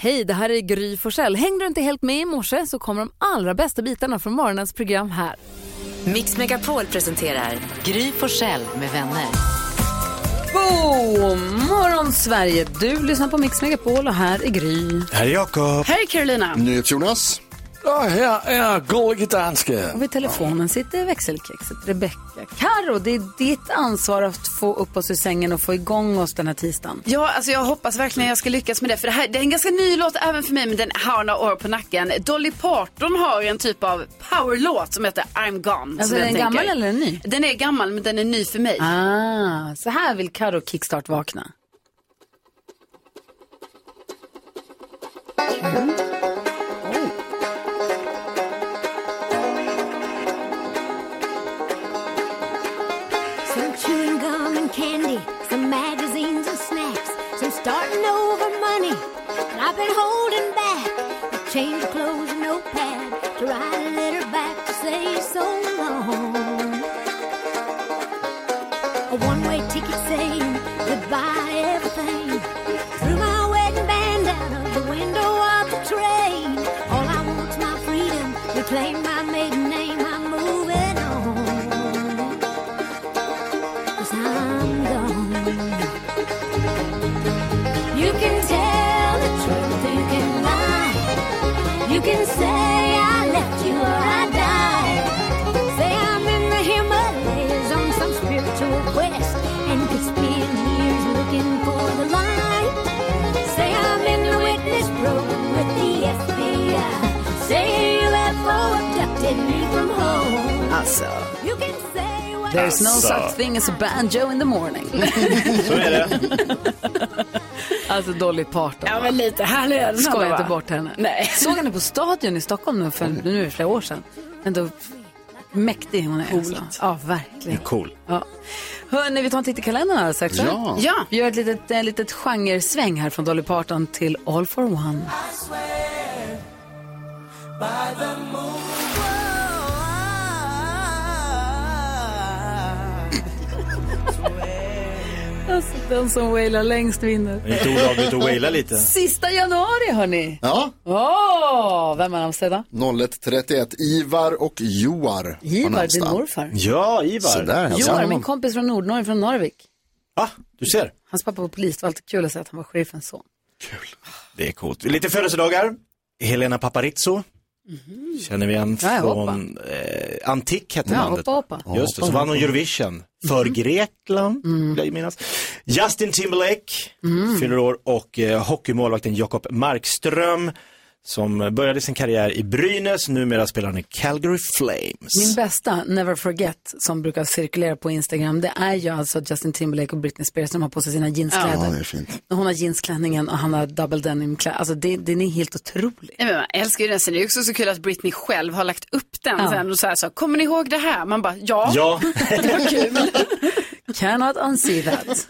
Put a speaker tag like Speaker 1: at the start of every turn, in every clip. Speaker 1: Hej, det här är Gry Forssell. Hängde du inte helt med i morse så kommer de allra bästa bitarna från morgonens program här.
Speaker 2: Mix Megapol presenterar Gry Forssell med vänner.
Speaker 1: God morgon Sverige! Du lyssnar på Mix Megapol och här är Gry.
Speaker 3: Här är Jakob.
Speaker 1: Hej Carolina!
Speaker 3: NyhetsJonas.
Speaker 4: Ja, här är Gullige Danske.
Speaker 1: Och vid telefonen sitter växelkexet Rebecka. Karo, det är ditt ansvar att få upp oss ur sängen och få igång oss den här tisdagen.
Speaker 5: Ja, alltså jag hoppas verkligen jag ska lyckas med det. För det här det är en ganska ny låt även för mig, men den har några år på nacken. Dolly Parton har en typ av powerlåt som heter I'm gone.
Speaker 1: Alltså,
Speaker 5: som
Speaker 1: är
Speaker 5: jag
Speaker 1: den
Speaker 5: tänker-
Speaker 1: gammal eller är den ny?
Speaker 5: Den är gammal, men den är ny för mig.
Speaker 1: Ah, så här vill Karo kickstart vakna.
Speaker 6: Some chewing gum and candy, some magazines and snacks, some starting over money. And I've been holding back. I changed clothes and notepad to write a letter back to say so long. A one-way ticket saying goodbye everything. Threw my wedding band out of the window of the train. All I want's my freedom, reclaim my maiden name. I'm moving on. 'Cause I'm gone. You can tell the truth, you can lie. You can say I left you or I died. Say I'm in the Himalayas on some spiritual quest and could spend years looking for the light. Say I'm in the witness program with the FBI. Say UFO abducted me from home.
Speaker 1: Alltså,
Speaker 6: You can say what
Speaker 1: there's no such thing as a banjo in the morning.
Speaker 7: Så är det.
Speaker 1: Alltså Dolly Parton.
Speaker 5: Ja, men lite härlig är den
Speaker 1: Skoja
Speaker 5: ändå,
Speaker 1: inte
Speaker 5: va?
Speaker 1: bort henne.
Speaker 5: Nej.
Speaker 1: Såg henne på Stadion i Stockholm nu för, nu är det flera år sedan. Ändå mäktig hon är. Alltså. Ja, verkligen.
Speaker 7: Cool.
Speaker 1: Ja. Hörni, vi tar en titt i kalendern alldeles strax.
Speaker 3: Ja.
Speaker 5: Ja.
Speaker 1: Vi gör ett litet, en litet genresväng här från Dolly Parton till All for One. Alltså, den som wailar längst vinner.
Speaker 7: Det är inte olagligt att waila lite.
Speaker 1: Sista januari, hörni.
Speaker 3: Ja,
Speaker 1: Åh, vem har namnsdag idag?
Speaker 3: 0131. Ivar och Joar. har
Speaker 1: Ivar, din
Speaker 3: namnsdag.
Speaker 1: morfar.
Speaker 7: Ja, Ivar.
Speaker 3: Sådär, jag
Speaker 1: Joar,
Speaker 3: sa
Speaker 1: min kompis från Nordnorge, från Narvik.
Speaker 7: Ah, du ser.
Speaker 1: Hans pappa var polis, det var alltid kul att se att han var sheriffens son.
Speaker 7: Det är coolt. Lite födelsedagar. Helena Paparizou. Känner vi igen
Speaker 1: Mhm. Ja, hoppa.
Speaker 7: från eh, Antik hette
Speaker 1: Ja,
Speaker 7: bandet.
Speaker 1: hoppa, hoppa. Mhm. Mm.
Speaker 7: Just det, så vann hon Eurovision för Grekland, vill jag minnas. Justin Timberlake fyller år och eh, hockeymålvakten Jakob Markström som började sin karriär i Brynäs, numera spelar han i Calgary Flames.
Speaker 1: Min bästa, Never Forget, som brukar cirkulera på Instagram, det är ju alltså Justin Timberlake och Britney Spears som har på sig sina
Speaker 3: Ja,
Speaker 1: jeanskläder.
Speaker 3: det är fint.
Speaker 1: Hon har jeansklänningen och han har double denim kläder. Alltså det, den är helt otrolig.
Speaker 5: Nej, men man älskar ju den. Sen är det ju också så kul att Britney själv har lagt upp den
Speaker 1: Ja.
Speaker 5: sen och så här så, kommer ni ihåg det här? Man bara, ja.
Speaker 7: Ja,
Speaker 1: Cannot unsee that.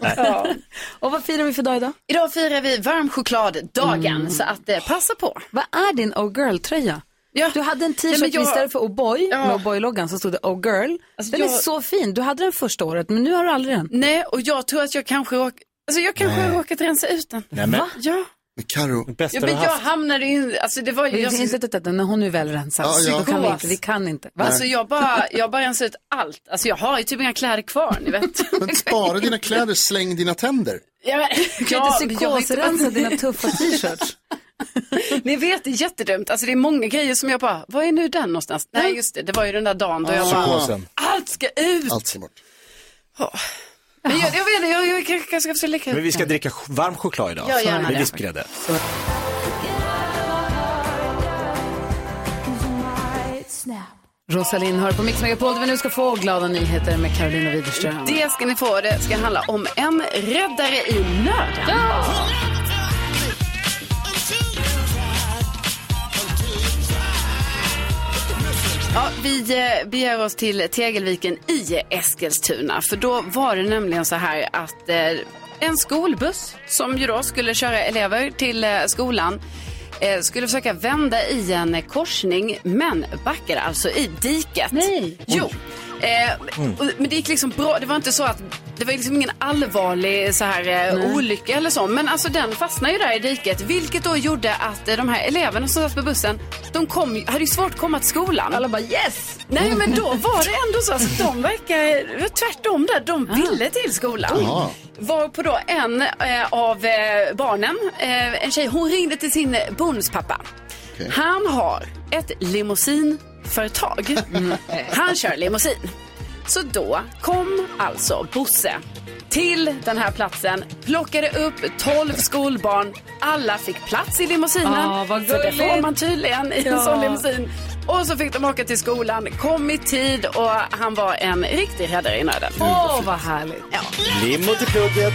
Speaker 1: och vad firar vi för dag idag? Mm.
Speaker 5: Idag firar vi varm chokladdagen, så att eh, passa på.
Speaker 1: Vad är din Oh Girl-tröja?
Speaker 5: Ja.
Speaker 1: Du hade en
Speaker 5: Nej,
Speaker 1: t-shirt
Speaker 5: men jag-
Speaker 1: istället för Oh Boy,
Speaker 5: Ja.
Speaker 1: med Oh Boy-loggan, så stod det Oh Girl.
Speaker 5: Alltså,
Speaker 1: den är
Speaker 5: jag-
Speaker 1: så fin. Du hade den första året, men nu har du aldrig den.
Speaker 5: Nej, och jag tror att jag kanske råk... alltså, jag kanske har råkat rensa ut den.
Speaker 7: Nej, men,
Speaker 5: Ja.
Speaker 3: Men Alltså, Karo,
Speaker 7: bästa
Speaker 5: Ja,
Speaker 7: du
Speaker 5: men
Speaker 7: har
Speaker 5: jag
Speaker 7: haft.
Speaker 5: hamnade ju, alltså det var ju,
Speaker 1: Vi
Speaker 5: jag,
Speaker 1: har inte tittat den, när hon nu väl rensas.
Speaker 3: Ja, ja.
Speaker 1: Då kan vi inte, vi kan inte. Va?
Speaker 5: alltså jag bara, jag bara rensade ut allt. Alltså jag har ju typ inga kläder kvar, ni vet.
Speaker 3: men spara dina kläder, släng dina tänder.
Speaker 5: Ja, men,
Speaker 1: Kan du
Speaker 5: ja,
Speaker 1: inte
Speaker 5: jag har inte-
Speaker 1: psykosrensa dina tuffa t-shirts?
Speaker 5: Ni vet, det är jättedumt. Alltså det är många grejer som jag bara, var är nu den någonstans? Nej, just det, det var ju den där dagen då jag bara,
Speaker 7: Psykosen.
Speaker 5: allt ska ut.
Speaker 3: Allt ska bort.
Speaker 5: Men jag, jag vet inte, jag, jag kanske kanske ska försöka lägga
Speaker 7: Men vi ska dricka ch- varm choklad idag.
Speaker 5: Ja, gärna
Speaker 7: med
Speaker 5: det.
Speaker 7: vispgrädde.
Speaker 1: Rosalind hör på Mix Megapol där vi nu ska få glada nyheter med Carolina Widerström.
Speaker 5: Det ska ni få, det ska handla om en räddare i nöden. Ja, vi eh, beger oss till Tegelviken i Eskilstuna. För då var det nämligen så här att eh, en skolbuss som ju då skulle köra elever till eh, skolan eh, skulle försöka vända i en eh, korsning men backade alltså i diket.
Speaker 1: Nej.
Speaker 5: Jo. Eh, och- Men det gick liksom bra. Det var inte så att det var liksom ingen allvarlig så här, eh, olycka eller så. Men alltså den fastnade ju där i diket. Vilket då gjorde att eh, de här eleverna som satt på bussen, de kom, ju- hade ju svårt att komma till skolan.
Speaker 1: Alla bara yes!
Speaker 5: Nej men då var det ändå så att de verkar, eh, tvärtom där, de
Speaker 1: Ah.
Speaker 5: ville till skolan.
Speaker 3: Jaha.
Speaker 5: Var på då en eh, av eh, barnen, eh, en tjej, hon ringde till sin bonuspappa.
Speaker 3: Okej.
Speaker 5: Han har ett limousinföretag.
Speaker 1: Mm.
Speaker 5: Han kör limousin. Så då kom alltså Bosse till den här platsen, plockade upp 12 skolbarn. Alla fick plats i limousinen.
Speaker 1: Ah, vad
Speaker 5: för det får
Speaker 1: gulligt.
Speaker 5: man tydligen i en
Speaker 1: Ja.
Speaker 5: sån limousin. Och så fick de åka till skolan, kom i tid och han var en riktig räddare i nöden.
Speaker 1: Åh, vad härligt.
Speaker 7: Limo till plugget.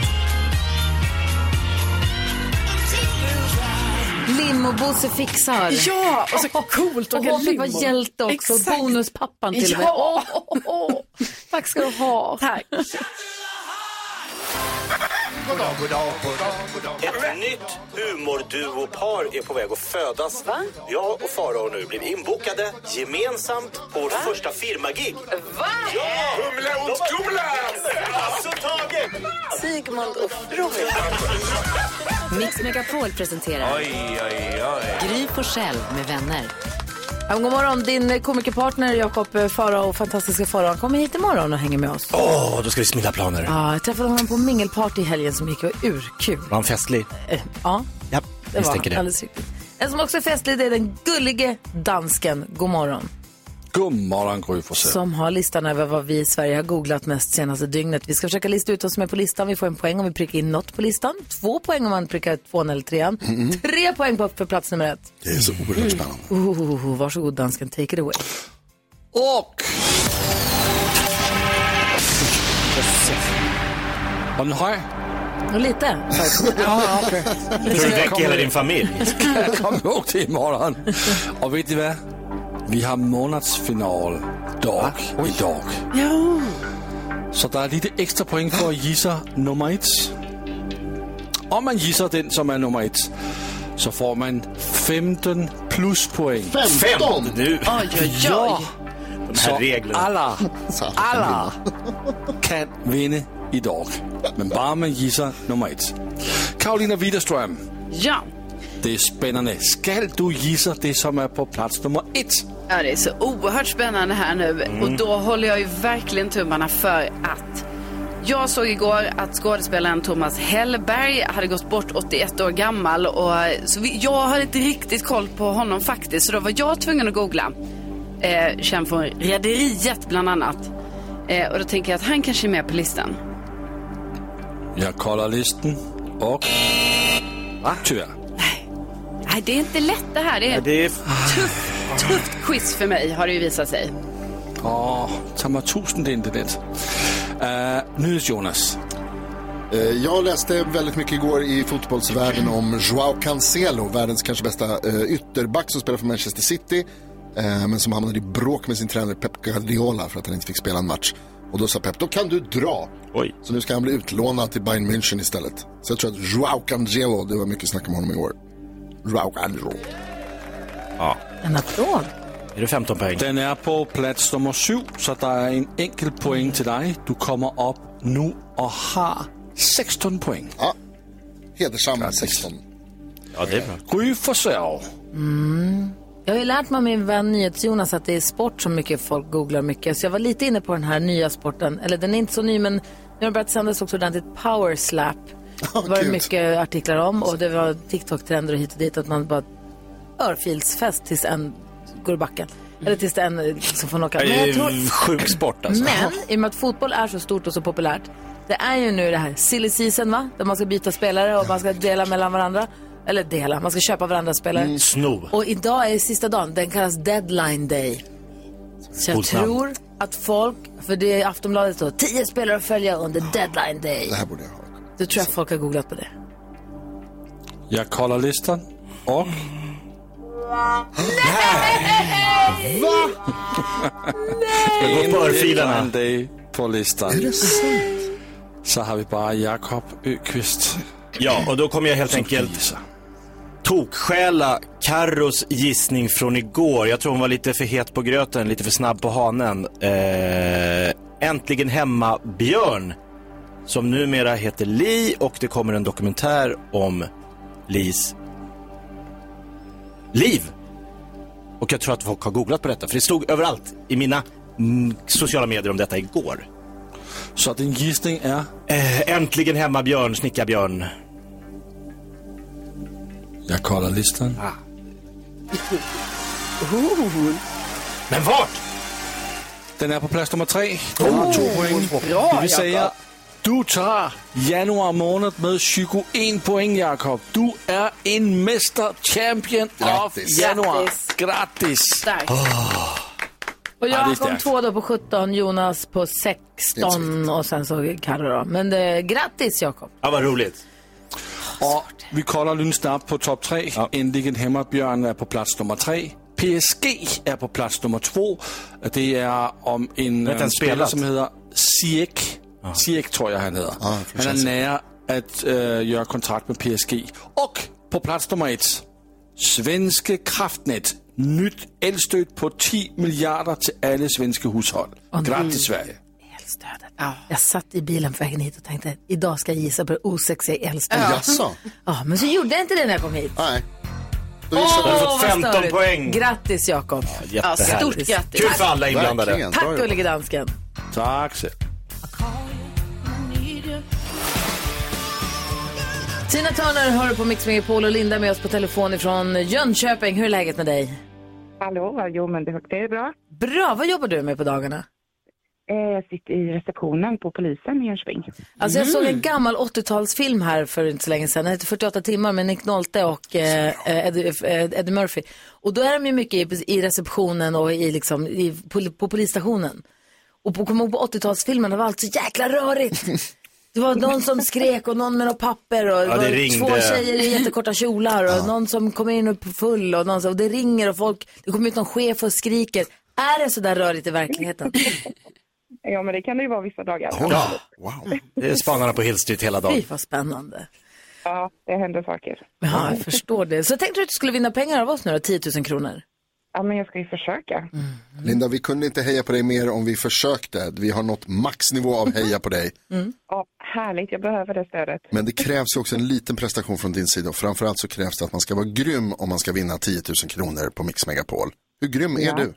Speaker 1: Lim-Bosse fixar.
Speaker 5: Ja, och så coolt
Speaker 1: Och hon fick vara hjälte också.
Speaker 5: Exakt.
Speaker 1: Bonuspappan till och med.
Speaker 5: Ja!
Speaker 1: Tack ska du ha.
Speaker 5: Tack.
Speaker 7: Ett nytt humorduopar är på väg att födas. Jag och Farao nu blir inbokade gemensamt på vårt första firmagig. Va? Ja! Humla och Gumla! Alltså taget!
Speaker 2: Sigmund och Roy. Mix Megapol presenterar Gry Forssell med vänner.
Speaker 1: Ja, god morgon, din komikerpartner Jakob Farao, fantastiska Farao, han kommer hit imorgon och hänger med oss.
Speaker 7: Åh, då ska vi smida planer.
Speaker 1: Ja, jag träffade honom på mingelparty i helgen som gick och var urkul.
Speaker 7: Var han festlig?
Speaker 1: Eh, Ja,
Speaker 7: Ja,
Speaker 1: det var han, alldeles riktigt. En som också är festlig det är den gullige dansken, god morgon,
Speaker 4: God morgon, Gry Forssell.
Speaker 1: som har listan över vad vi i Sverige har googlat mest senaste dygnet. Vi ska försöka lista ut vad som är på listan. Vi får en poäng om vi prickar in något på listan. Två poäng om man prickar tvåan eller trean. Tre poäng på- för plats nummer ett.
Speaker 3: Det är så oerhört spännande.
Speaker 1: Oh, varsågod dansken, take it away.
Speaker 4: Och... Var den hög?
Speaker 1: Och lite.
Speaker 4: Ja, okej.
Speaker 7: För du väcker hela din familj.
Speaker 4: Kom ihåg det imorgon. Och vet ni vad? Vi har månadsfinal dag idag. Så der är lite extra poäng för att gissa nummer ett. Om man gissar den som är nummer ett så får man 15 pluspoäng.
Speaker 3: 15!
Speaker 7: Nu.
Speaker 4: Ja!
Speaker 7: De
Speaker 4: Så
Speaker 7: här reglerna.
Speaker 4: alla,
Speaker 3: Satan.
Speaker 4: alla kan vinna idag. Men bara man gissar nummer ett. Karolina Widerström,
Speaker 5: Ja.
Speaker 4: det är spännande. Ska du gissa det som är på plats nummer ett?
Speaker 5: ja, det är så oerhört spännande här nu. Och då håller jag ju verkligen tummarna för att jag såg igår att skådespelaren Thomas Hellberg hade gått bort 81 år gammal. Och, så vi, jag hade inte riktigt koll på honom faktiskt, så då var jag tvungen att googla. Eh, känd från Rederiet bland annat. Eh, och då tänker jag att han kanske är med på listan.
Speaker 4: Jag kollar listan och... Va? Tyvärr.
Speaker 5: Nej, det är inte lätt det här. Det är ett
Speaker 7: Det är
Speaker 5: tufft quiz för mig har det ju visat sig.
Speaker 4: Ah. Åh, ta mig tusen det är inte det. Uh, Jonas.
Speaker 3: Eh, Jag läste väldigt mycket igår i fotbollsvärlden om Joao Cancelo, världens kanske bästa eh, ytterback som spelar för Manchester City. eh, Men som hamnade i bråk med sin tränare Pep Guardiola för att han inte fick spela en match. Och då sa Pep, då kan du dra.
Speaker 7: Oj.
Speaker 3: Så nu ska han bli utlånad till Bayern München istället. Så jag tror att Joao Cancelo, det var mycket snack om honom i år. Joao Cancelo.
Speaker 1: En applåd.
Speaker 7: Är det 15 poäng?
Speaker 4: Den är på plats nummer sju, så det är en enkel poäng till dig. Du kommer upp nu och har 16 poäng.
Speaker 3: Ja, hedersam 16.
Speaker 7: Ja, det är bra.
Speaker 4: Gry Forssell.
Speaker 1: Mm. Jag har ju lärt mig av min vän NyhetsJonas att det är sport som mycket folk googlar mycket. Så jag var lite inne på den här nya sporten. Eller den är inte så ny men nu har det börjat sändas också ordentligt power slap. det var det
Speaker 3: kul.
Speaker 1: mycket artiklar om och det var TikTok-trender och hit och dit. Att man bara örfilsfest tills en går i backen. Eller tills det är en eh, som får knocka. Men, jag tror,
Speaker 7: Sjuk sport alltså.
Speaker 1: men i och med att fotboll är så stort och så populärt. Det är ju nu det här silly season va? Där man ska byta spelare och man ska dela mellan varandra. Eller dela, man ska köpa varandras spelare.
Speaker 6: Mm,
Speaker 7: Sno.
Speaker 1: Och idag är sista dagen, den kallas deadline day. Så jag
Speaker 7: Coolt namn.
Speaker 1: tror att folk, för det är Aftonbladet då, tio spelare att följa under deadline day.
Speaker 3: Det här borde jag ha.
Speaker 1: Då tror jag folk har googlat på det.
Speaker 4: Jag kollar listan och... Nej! Va?
Speaker 7: går på örfilarna.
Speaker 4: Day på listan. Så har vi bara Jakob Öqvist.
Speaker 7: Ja, och då kommer jag helt enkelt
Speaker 4: Gissa.
Speaker 7: tokstjäla Carros gissning från igår. Jag tror hon var lite för het på gröten, lite för snabb på hanen. Eh, äntligen hemma Björn som numera heter Li och det kommer en dokumentär om Lis liv. Och jag tror att folk har googlat på detta, för det stod överallt i mina mm, sociala medier om detta igår. Eh,
Speaker 4: Så att din gissning är?
Speaker 7: Äntligen hemma Björn, snickarbjörn.
Speaker 4: Jag kollar listan.
Speaker 7: Men vart?
Speaker 4: Den är på plats nummer tre. Du har två poäng. det vill säga, du tar januari månad med 21 poäng, Jakob. Du är en mästerchampion av
Speaker 3: Grattis.
Speaker 4: januari.
Speaker 5: Grattis.
Speaker 4: Grattis! Ah.
Speaker 5: Starkt.
Speaker 1: Och
Speaker 4: Ja, det är
Speaker 1: jag kom
Speaker 4: starkt.
Speaker 1: två då på 17, Jonas på
Speaker 3: Det är inte så
Speaker 1: 16 och sen så Carro då. Men det, grattis Jakob.
Speaker 7: Ja, vad roligt.
Speaker 4: Och vi kollar lynsnabbt på topp tre. Äntligen hemma. Björn är på plats nummer tre. PSG är på plats nummer två. Det är om en,
Speaker 7: inte
Speaker 4: eh,
Speaker 7: ens
Speaker 4: spelare
Speaker 7: spelat.
Speaker 4: som heter Ziyech.
Speaker 7: Ah.
Speaker 4: Ziyech tror jag han heter.
Speaker 3: från
Speaker 4: han är
Speaker 3: Chelsea.
Speaker 4: nära att eh, göra kontrakt med PSG. Och på plats nummer ett, Svenska kraftnät. Nytt elstöd på 10 miljarder till alla svenska hushåll. Grattis Sverige!
Speaker 1: Elstödet. Jag satt i bilen på vägen hit och tänkte idag ska jag gissa på det osexiga elstödet. Ja.
Speaker 3: Jaså?
Speaker 1: men så gjorde jag inte det när jag kom hit.
Speaker 3: Nej. Då gissade
Speaker 7: Du
Speaker 3: jag.
Speaker 7: har
Speaker 1: Åh,
Speaker 7: fått
Speaker 1: vad
Speaker 7: 15
Speaker 1: störigt.
Speaker 7: poäng.
Speaker 1: Grattis Jakob.
Speaker 5: Ja,
Speaker 7: Jättehärligt.
Speaker 5: stort
Speaker 1: Härligt.
Speaker 5: grattis.
Speaker 7: Kul för alla inblandade.
Speaker 3: Verkligen. Bra
Speaker 1: Tack
Speaker 3: jobbat.
Speaker 1: gullige dansken.
Speaker 4: Tack Sverige.
Speaker 1: Tina Turner hör på Mix Megapol och Linda är med oss på telefon ifrån Jönköping. Hur är läget med dig?
Speaker 8: Hallå, jo men det, det är bra.
Speaker 1: Bra, vad jobbar du med på dagarna?
Speaker 8: Eh, Jag sitter i receptionen på polisen i Jönköping.
Speaker 1: Alltså jag
Speaker 9: Mm.
Speaker 1: såg en gammal 80-talsfilm här för inte så länge sedan. Den heter 48 timmar med Nick Nolte och eh, eh, Eddie, eh, Eddie Murphy. Och då är de ju mycket i, i receptionen och i, liksom, i, på, på polisstationen. Och på, kom ihåg på 80-talsfilmen, det var allt så jäkla rörigt. Det var någon som skrek och någon med något papper och det
Speaker 7: det
Speaker 1: var
Speaker 7: ringde.
Speaker 1: två tjejer i jättekorta kjolar och någon som kom in och på full och, någon som, och det ringer och folk, det kommer ut någon chef och skriker. Är det så där rörigt i verkligheten?
Speaker 8: Ja men det kan det ju vara vissa dagar.
Speaker 7: Ja,
Speaker 3: Wow.
Speaker 7: det är spanarna på Hill Street hela dagen.
Speaker 1: Fy vad spännande.
Speaker 8: Ja, det händer saker.
Speaker 1: Ja, jag förstår det. Så tänkte du att du skulle vinna pengar av oss nu då, 10 000 kronor?
Speaker 8: Ja men jag ska ju försöka.
Speaker 3: Linda, vi kunde inte heja på dig mer om vi försökte. Vi har nått maxnivå av heja på dig.
Speaker 8: Ja, härligt, jag behöver det stödet.
Speaker 3: Men det krävs ju också en liten prestation från din sida och framförallt så krävs det att man ska vara grym om man ska vinna 10 000 kronor på Mix Megapol. Hur grym är du?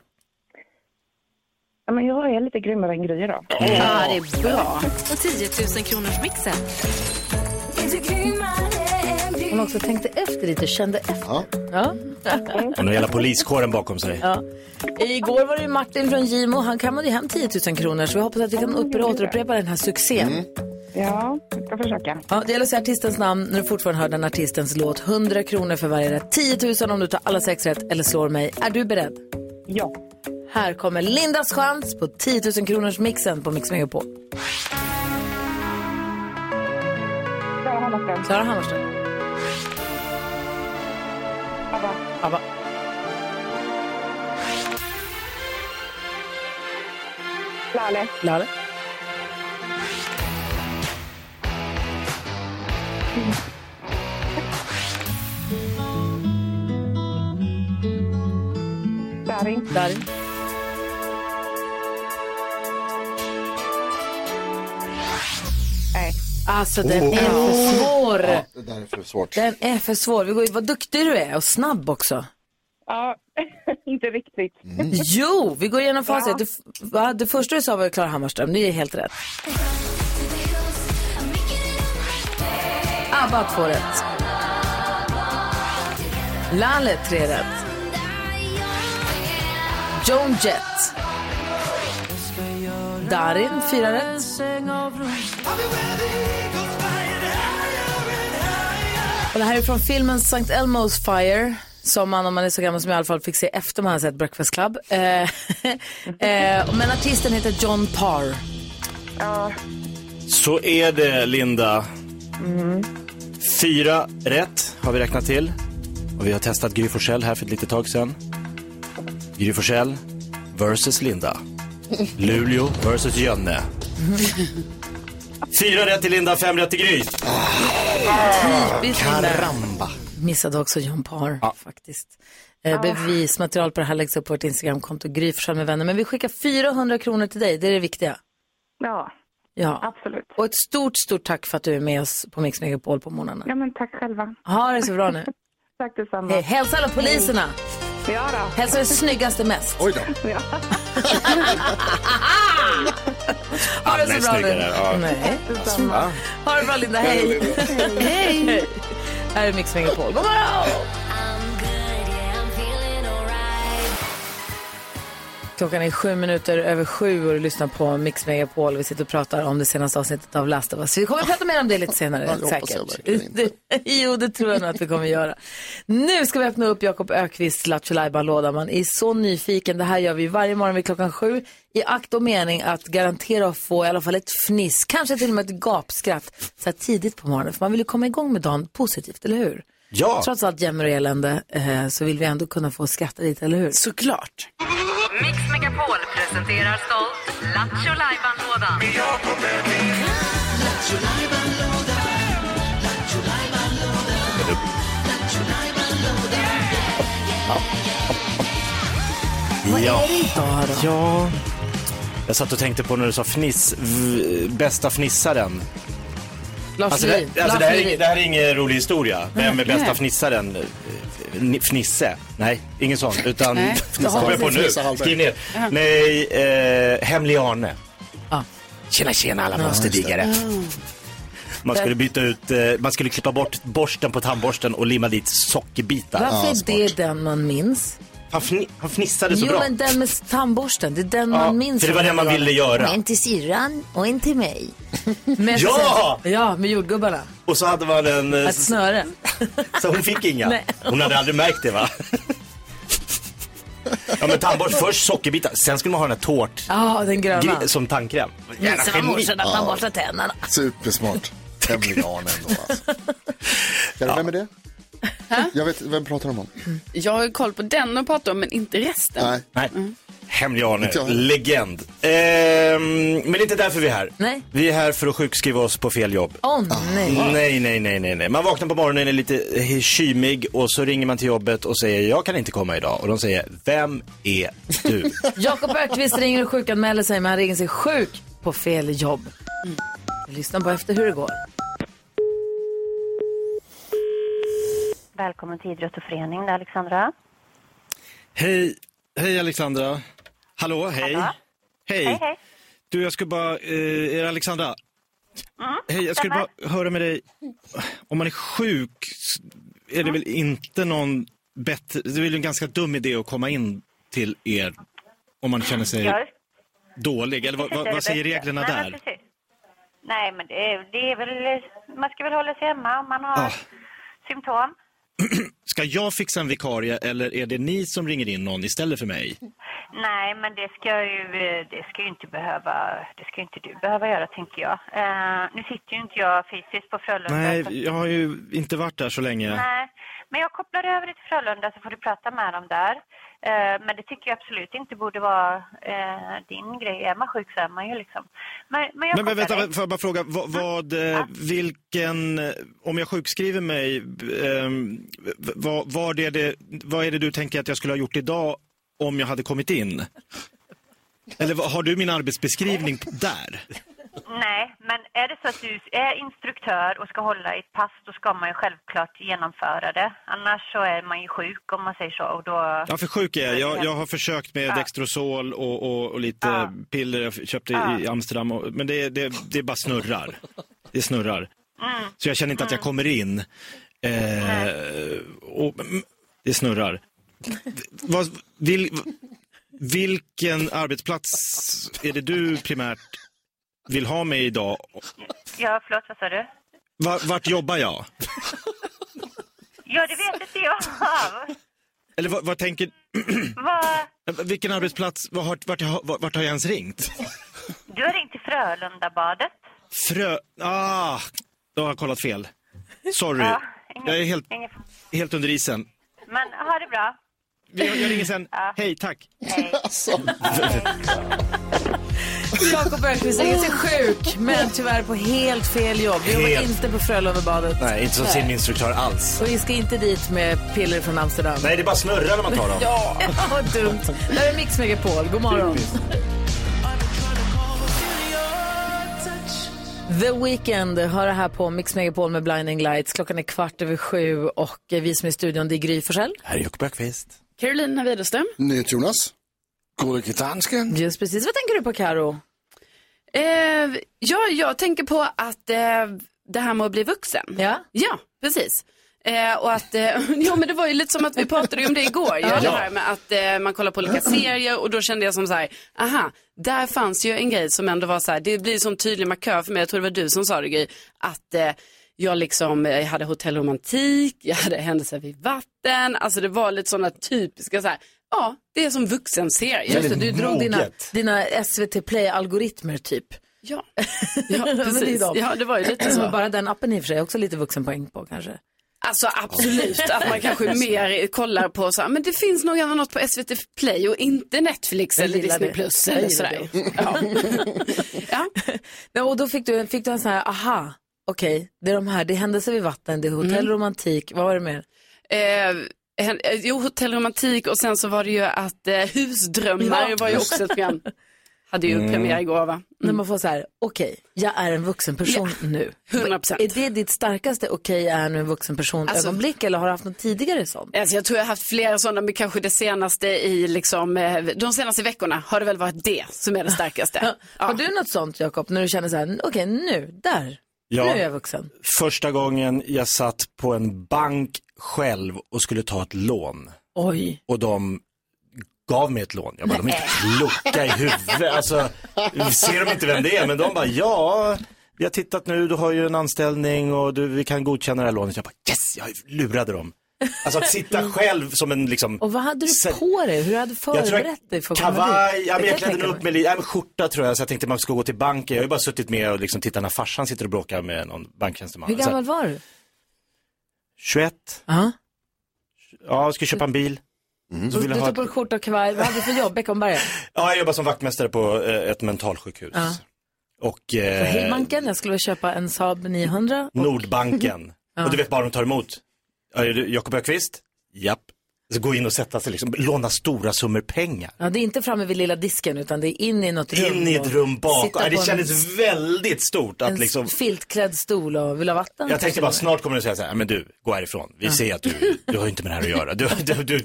Speaker 8: Ja, men jag är lite grymmare än Gry Eh, idag.
Speaker 5: Ja, det är bra.
Speaker 2: 10 000 kronors mixen.
Speaker 1: Om man också tänkte efter lite, kände efter.
Speaker 3: Ja.
Speaker 1: Ja.
Speaker 7: Och nu hela poliskåren bakom sig.
Speaker 1: Igår var det ju Martin från Gimo, han kammade ju hem 10 000 kronor så vi hoppas att vi kan upp- återupprepa den här succén.
Speaker 3: Mm.
Speaker 8: Ja, jag ska försöka.
Speaker 1: Ja, det gäller att säga artistens namn när du fortfarande hör den artistens låt. 100 kronor för varje rätt, 10 000 om du tar alla sex rätt eller slår mig. Är du beredd?
Speaker 8: Ja.
Speaker 1: Här kommer Lindas chans på 10 000 kronors mixen på Mix Megapol.
Speaker 8: Klara Hammarström,
Speaker 1: Klara Hammarström.
Speaker 8: ABBA,
Speaker 1: ABBA.
Speaker 8: Laleh,
Speaker 1: Laleh.
Speaker 8: Darin,
Speaker 1: Darin.
Speaker 8: nej.
Speaker 1: Alltså den är för svår.
Speaker 3: Oh. Det där är för svårt.
Speaker 1: Den är för svår. Vi går, ju- vad duktig du är och snabb också.
Speaker 8: Ja, inte riktigt.
Speaker 1: Jo, vi går igenom facit. Det, f- va? det första du sa var ju Klara Hammarström. Det är helt rätt. ABBA två rätt. Lalle tre rätt. Joan Jett. Darin fyra rätt. Och det här är från filmen St. Elmo's Fire. Som man, om man är så gammal som jag i alla fall, fick se efter man hade sett Breakfast Club. Eh, eh, men artisten heter John Parr.
Speaker 7: Så är det, Linda. Fyra rätt har vi räknat till. Och vi har testat Gry Forssell här för ett litet tag sedan. Gry Forssell versus Linda. Luleå versus Jönne. Fyra rätt till Linda, fem rätt till Gry.
Speaker 1: Visst,
Speaker 7: Karamba.
Speaker 1: Missade också John Parr faktiskt. Eh, bevismaterial på det här läggs upp på vårt Instagramkonto Gry Forssell med vänner. Men vi skickar 400 kronor till dig, det är det viktiga.
Speaker 8: Ja,
Speaker 1: Ja. Absolut. Och ett stort, stort tack för att du är med oss på Mix Megapol på morgnarna.
Speaker 8: Ja, men tack själva.
Speaker 1: Ha det så bra nu.
Speaker 8: Tack detsamma.
Speaker 1: Hej, hälsa alla poliserna.
Speaker 8: Ja då.
Speaker 1: Hälsa det snyggaste mest.
Speaker 3: Oj då.
Speaker 8: Ja.
Speaker 1: Ha det så
Speaker 6: Nej,
Speaker 1: bra nu.
Speaker 6: snyggare, ja.
Speaker 1: Nej.
Speaker 6: Detsamma.
Speaker 1: Va? Ha det bra Linda, hej. Hej. Här är Mix Megapol. God morgon! Klockan är sju minuter över sju och du lyssnar på Mix Megapol. Vi sitter och pratar om det senaste avsnittet av Last of Us. Vi kommer att prata mer om det lite
Speaker 6: Ja,
Speaker 1: senare,
Speaker 6: det hoppas jag
Speaker 1: säkert. Det- jo, det tror jag nog att vi kommer att göra. Nu ska vi öppna upp Jakob Ökvists Lattjo låda Man är så nyfiken. Det här gör vi varje morgon vid klockan sju i akt och mening att garantera att få i alla fall ett fniss, kanske till och med ett gapskratt så här tidigt på morgonen. För man vill ju komma igång med dagen positivt, eller hur?
Speaker 6: Ja.
Speaker 1: Trots allt jämmer och elände eh, så vill vi ändå kunna få skratta lite, eller hur? Såklart.
Speaker 2: Mix Megapol presenterar stolt Lattjo Lajban-lådan.
Speaker 1: Vad
Speaker 7: ja.
Speaker 1: är det idag då?
Speaker 7: Ja. Jag satt och tänkte på när du sa fniss, v, bästa fnissaren.
Speaker 1: Lars
Speaker 7: alltså,
Speaker 1: Lerin.
Speaker 7: det, alltså, det, här
Speaker 1: Lars
Speaker 7: är,
Speaker 1: Lerin.
Speaker 7: det här är ingen rolig historia. Vem är
Speaker 1: Nej.
Speaker 7: bästa
Speaker 1: Nej.
Speaker 7: fnissaren? F- Fnisse? Nej, ingen sån. Utan,
Speaker 1: Nej.
Speaker 7: det kommer jag på nu.
Speaker 1: Fnissa Hallberg.
Speaker 7: Skriv ner.
Speaker 1: Ja.
Speaker 7: Nej, eh, Hemlig Arne.
Speaker 1: Ja.
Speaker 7: Tjena, tjena alla
Speaker 1: Ja,
Speaker 7: monsterdiggare. Man
Speaker 1: Där-
Speaker 7: skulle byta ut, eh, man skulle klippa bort borsten på tandborsten och limma dit sockerbitar.
Speaker 1: Varför är det den man minns?
Speaker 7: Han, fni- han fnissade så
Speaker 1: jo,
Speaker 7: bra.
Speaker 1: men den med tandborsten, det är den
Speaker 7: Ja,
Speaker 1: man minns.
Speaker 7: för det var den man ville göra.
Speaker 1: Och en till syrran och en till mig. Med
Speaker 7: Ja!
Speaker 1: ja, med jordgubbarna.
Speaker 7: Och så hade man en... eh,
Speaker 1: Ett snöre.
Speaker 7: Så hon fick inga?
Speaker 1: Nej.
Speaker 7: Hon hade aldrig märkt det va? Ja men tandborst, först sockerbitar, sen skulle man ha den här tårt
Speaker 1: Ja, den gröna.
Speaker 7: gri- som tandkräm. Jävla
Speaker 1: Visa vad
Speaker 7: geni.
Speaker 1: morsan att man borstar tänderna.
Speaker 3: Supersmart. Hemlig Arne ändå alltså. Jävlar, Vem är det? Jag vet, vem pratar de om?
Speaker 5: Jag har ju koll på den och pratar om, men inte resten.
Speaker 3: Nej.
Speaker 7: Nej. Hemlig Mm. Arne,
Speaker 3: Inte jag.
Speaker 7: legend. Ehm, men det är inte därför vi är här.
Speaker 1: Nej.
Speaker 7: Vi är här för att sjukskriva oss på fel jobb. Ah.
Speaker 1: Åh nej.
Speaker 7: Nej, nej, nej, nej, nej. Man vaknar på morgonen, är lite eh, kymig och så ringer man till jobbet och säger jag kan inte komma idag. Och de säger, vem är du?
Speaker 1: Jakob Ökvist ringer och sjukanmäler sig, men han ringer sig sjuk på fel jobb.
Speaker 7: Mm.
Speaker 1: Vi lyssnar bara efter hur det går.
Speaker 10: Välkommen till Idrott och förening, det är Alexandra.
Speaker 7: Hej, hej Alexandra. Hallå, hej. Hej.
Speaker 10: Hej, hej.
Speaker 7: Du, jag skulle bara, eh, är det Alexandra? Hej, jag skulle
Speaker 10: stämmer.
Speaker 7: bara höra med dig. Om man är sjuk s- är det väl inte någon bättre, det är väl en ganska dum idé att komma in till er om man känner sig
Speaker 10: Ja,
Speaker 7: dålig? Eller vad,
Speaker 10: precis, det är
Speaker 7: vad,
Speaker 10: det
Speaker 7: vad säger
Speaker 10: bästa.
Speaker 7: reglerna
Speaker 10: Nej, men
Speaker 7: där?
Speaker 10: precis. Nej, men det är, det är väl, man ska väl hålla sig hemma om man har
Speaker 7: Ah.
Speaker 10: symptom.
Speaker 7: Ska jag fixa en vikarie eller är det ni som ringer in någon istället för mig?
Speaker 10: Nej, men det ska ju, eh, det ska ju inte behöva, det ska ju inte du behöva göra, tänker jag. Eh, nu sitter ju inte jag fysiskt på Frölunda. så-
Speaker 7: Nej, jag har ju inte varit där så länge.
Speaker 10: Nej, men jag kopplar över dig till Frölunda så får du prata med dem där. Eh, men det tycker jag absolut inte borde vara eh, din grej. Är man sjuk så är man ju liksom. Men, men jag
Speaker 7: Men, men
Speaker 10: kopplar dig.
Speaker 7: vänta, får jag bara fråga, vad, vad eh, vilken, eh, om jag sjukskriver mig, ehm, v- vad, vad, är det, vad är det du tänker att jag skulle ha gjort idag om jag hade kommit in? Eller vad- har du min arbetsbeskrivning där?
Speaker 10: Nej, men är det så att du är instruktör och ska hålla i ett pass då ska man ju självklart genomföra det. Annars så är man ju sjuk om man säger så. Och då...
Speaker 7: Ja, för sjuk är jag. Jag, jag har försökt med Dextrosol och, och, och lite piller jag köpte i Amsterdam, och, men det, det, det bara snurrar. Det snurrar.
Speaker 10: Mm.
Speaker 7: Så jag känner inte att jag kommer in. Eh, och, mm, det snurrar. Vad, vil, vilken arbetsplats är det du primärt vill ha mig idag?
Speaker 10: Ja, förlåt, vad sa du?
Speaker 7: Va- Vart jobbar jag?
Speaker 10: Ja, det vet inte jag.
Speaker 7: Eller vad, vad tänker...
Speaker 10: Vad-
Speaker 7: Vilken arbetsplats? Vad har- Vart, vart, vart har jag ens ringt?
Speaker 10: Du har ringt till Frölundabadet.
Speaker 7: Frö... Ah, då har jag kollat fel. Sorry.
Speaker 10: Ja,
Speaker 7: jag är helt,
Speaker 10: Ingen...
Speaker 7: helt under isen.
Speaker 10: Men ha det bra.
Speaker 7: Vi- Jag ringer sen. Hej, tack.
Speaker 1: Jakob Ökvist ringer sig sjuk, men tyvärr på helt fel jobb. Vi jobbar
Speaker 7: Helt.
Speaker 1: inte på Frölundabadet.
Speaker 7: siminstruktör alls.
Speaker 1: Och vi ska inte dit med piller från Amsterdam.
Speaker 7: Nej, det bara snurrar när man tar dem.
Speaker 1: ja, vad dumt. Det här är Mix Megapol. God morgon. The Weeknd hör det här på Mix Megapol med Blinding Lights. Klockan är kvart över sju och vi som är i studion det är Gry Forssell.
Speaker 4: Här är Jocke Bergqvist.
Speaker 5: Carolina Widerström.
Speaker 3: Jonas.
Speaker 4: Gullige dansken.
Speaker 1: Just precis. Vad tänker du på Karo?
Speaker 5: Eh, ja, jag tänker på att eh, det här med att bli vuxen.
Speaker 1: Ja,
Speaker 5: ja precis. Eh, och att, eh, ja men det var ju lite som att vi pratade ju om det igår, ja. det
Speaker 1: Ja. Mm.
Speaker 5: här med att eh, man kollar på olika serier och då kände jag som så här, aha, där fanns ju en grej som ändå var så här, det blir som tydlig markör för mig, jag tror det var du som sa det Gry, att eh, jag liksom eh, hade hotellromantik, jag hade händelser vid vatten, alltså det var lite sådana typiska så här, ja, det är som vuxenserie.
Speaker 1: Just det, du drog dina, dina SVT Play-algoritmer typ.
Speaker 5: Ja,
Speaker 1: Ja,
Speaker 5: precis. Ja, det var ju lite så.
Speaker 1: Bara den appen i och för sig, också lite vuxenpoäng på kanske.
Speaker 5: Alltså absolut att man kanske mer kollar på så här, men det finns nog även något på SVT Play och inte Netflix
Speaker 1: Jag
Speaker 5: eller
Speaker 1: gillar
Speaker 5: Disney
Speaker 1: det.
Speaker 5: Plus
Speaker 1: Jag
Speaker 5: eller
Speaker 1: gillar
Speaker 5: sådär.
Speaker 1: det. Nej, och då fick du, fick du en sån här, aha, okej, det är de här, det är händelser vid vatten, det är hotell,
Speaker 5: Mm.
Speaker 1: romantik, vad var det mer?
Speaker 5: Eh, hen- eh, jo, hotellromantik och sen så var det ju att eh, husdrömmar
Speaker 1: Ja.
Speaker 5: var ju också ett program. Hade ju
Speaker 1: Mm.
Speaker 5: premiär igår va?
Speaker 1: När man får så här, okej, jag är en vuxen person nu.
Speaker 5: 100%.
Speaker 1: Är det ditt starkaste, okej, jag är nu en vuxen person
Speaker 5: Alltså-
Speaker 1: ögonblick eller har du haft något tidigare sånt?
Speaker 5: Alltså jag tror jag har haft flera sådana, men kanske det senaste i liksom, eh, de senaste veckorna har det väl varit det som är det starkaste.
Speaker 1: Har du något sånt Jakob, när du känner så här, okej, nu, där,
Speaker 7: Ja.
Speaker 1: nu är jag vuxen?
Speaker 7: Första gången jag satt på en bank själv och skulle ta ett lån.
Speaker 1: Oj.
Speaker 7: Och de gav mig ett lån. Jag bara, de är inte kloka i huvudet. Alltså, ser de inte vem det är? Men de bara, ja, vi har tittat nu, du har ju en anställning och du, vi kan godkänna det här lånet. Jag bara, yes, jag lurade dem. Alltså att sitta själv som en liksom...
Speaker 1: Och vad hade du
Speaker 7: Sen-
Speaker 1: på dig? Hur hade du
Speaker 7: Jag tror jag-
Speaker 1: förberett dig för att komma
Speaker 7: Kavaj,
Speaker 1: dit?
Speaker 7: ja,
Speaker 1: Det
Speaker 7: men jag
Speaker 1: kan
Speaker 7: klädde
Speaker 1: tänka
Speaker 7: nog upp mig lite, ja, men skjorta tror jag, så jag tänkte man skulle gå till banken. Jag har ju bara suttit med och liksom tittat när farsan sitter och bråkar med någon banktjänsteman.
Speaker 1: Hur
Speaker 7: Så här,
Speaker 1: gammal var du?
Speaker 7: 21.
Speaker 1: Ja,
Speaker 7: jag ska köpa en bil. Så vill
Speaker 1: Du
Speaker 7: jag ha
Speaker 1: tog
Speaker 7: ett...
Speaker 1: på dig skjorta och kavaj, vad hade du för jobb? Beckomberga?
Speaker 7: Ja, jag jobbar som vaktmästare på eh, ett mentalsjukhus.
Speaker 1: Ja.
Speaker 7: Och
Speaker 1: På
Speaker 7: eh,
Speaker 1: Hillbanken, jag skulle köpa en Saab 900.
Speaker 7: Nordbanken. Och du vet bara de tar emot. Ja, är du Jakob Ökvist? Japp. Så gå in och sätta sig liksom, låna stora summor pengar.
Speaker 1: Ja, det är inte framme vid lilla disken utan det är in i något rum.
Speaker 7: In i ett
Speaker 1: och
Speaker 7: rum
Speaker 1: sitta
Speaker 7: bakom. Ja,
Speaker 1: på
Speaker 7: det
Speaker 1: en-
Speaker 7: kändes väldigt stort
Speaker 1: en
Speaker 7: att liksom.
Speaker 1: filtklädd stol och vill ha vatten.
Speaker 7: Jag tänkte bara snart kommer du säga så här, men du, gå härifrån. Vi ser att du, du har ju inte med det här att göra. Du, du, du,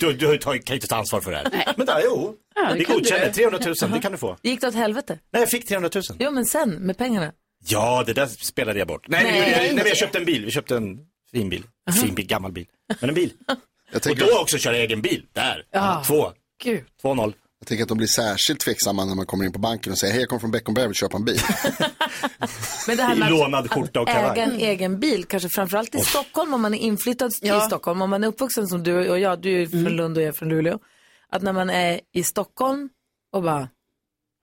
Speaker 7: du, du, har ju tagit- kan ju inte ta ansvar för det här. Men där, jo,
Speaker 1: Ja, det
Speaker 7: Oh. vi
Speaker 1: kan
Speaker 7: godkänner
Speaker 1: du.
Speaker 7: 300 000, det kan du få.
Speaker 1: Gick det åt helvete?
Speaker 7: Nej, jag fick 300 000.
Speaker 1: Jo, men sen med pengarna.
Speaker 7: Ja, det där spelade jag bort. Nej,
Speaker 1: Nej.
Speaker 7: nej. Jag, nej men jag köpte en bil. Vi köpte en fin bil. Fin bil, gammal bil. Men en bil. och då också köra egen bil. Där.
Speaker 1: Ja.
Speaker 7: Två.
Speaker 1: Gud.
Speaker 7: 2-0.
Speaker 3: Jag tänker att de blir särskilt tveksamma när man kommer in på banken och säger hej jag kommer från Beckomberga och vill köpa en bil.
Speaker 1: Men det här med att-
Speaker 7: Lånad skjorta och
Speaker 1: Äga en
Speaker 7: kavaj.
Speaker 1: egen bil, kanske framförallt i Stockholm om man är inflyttad i Stockholm. Om man är uppvuxen som du och jag, du är ju från Lund och jag är från Luleå. Att när man är i Stockholm och bara,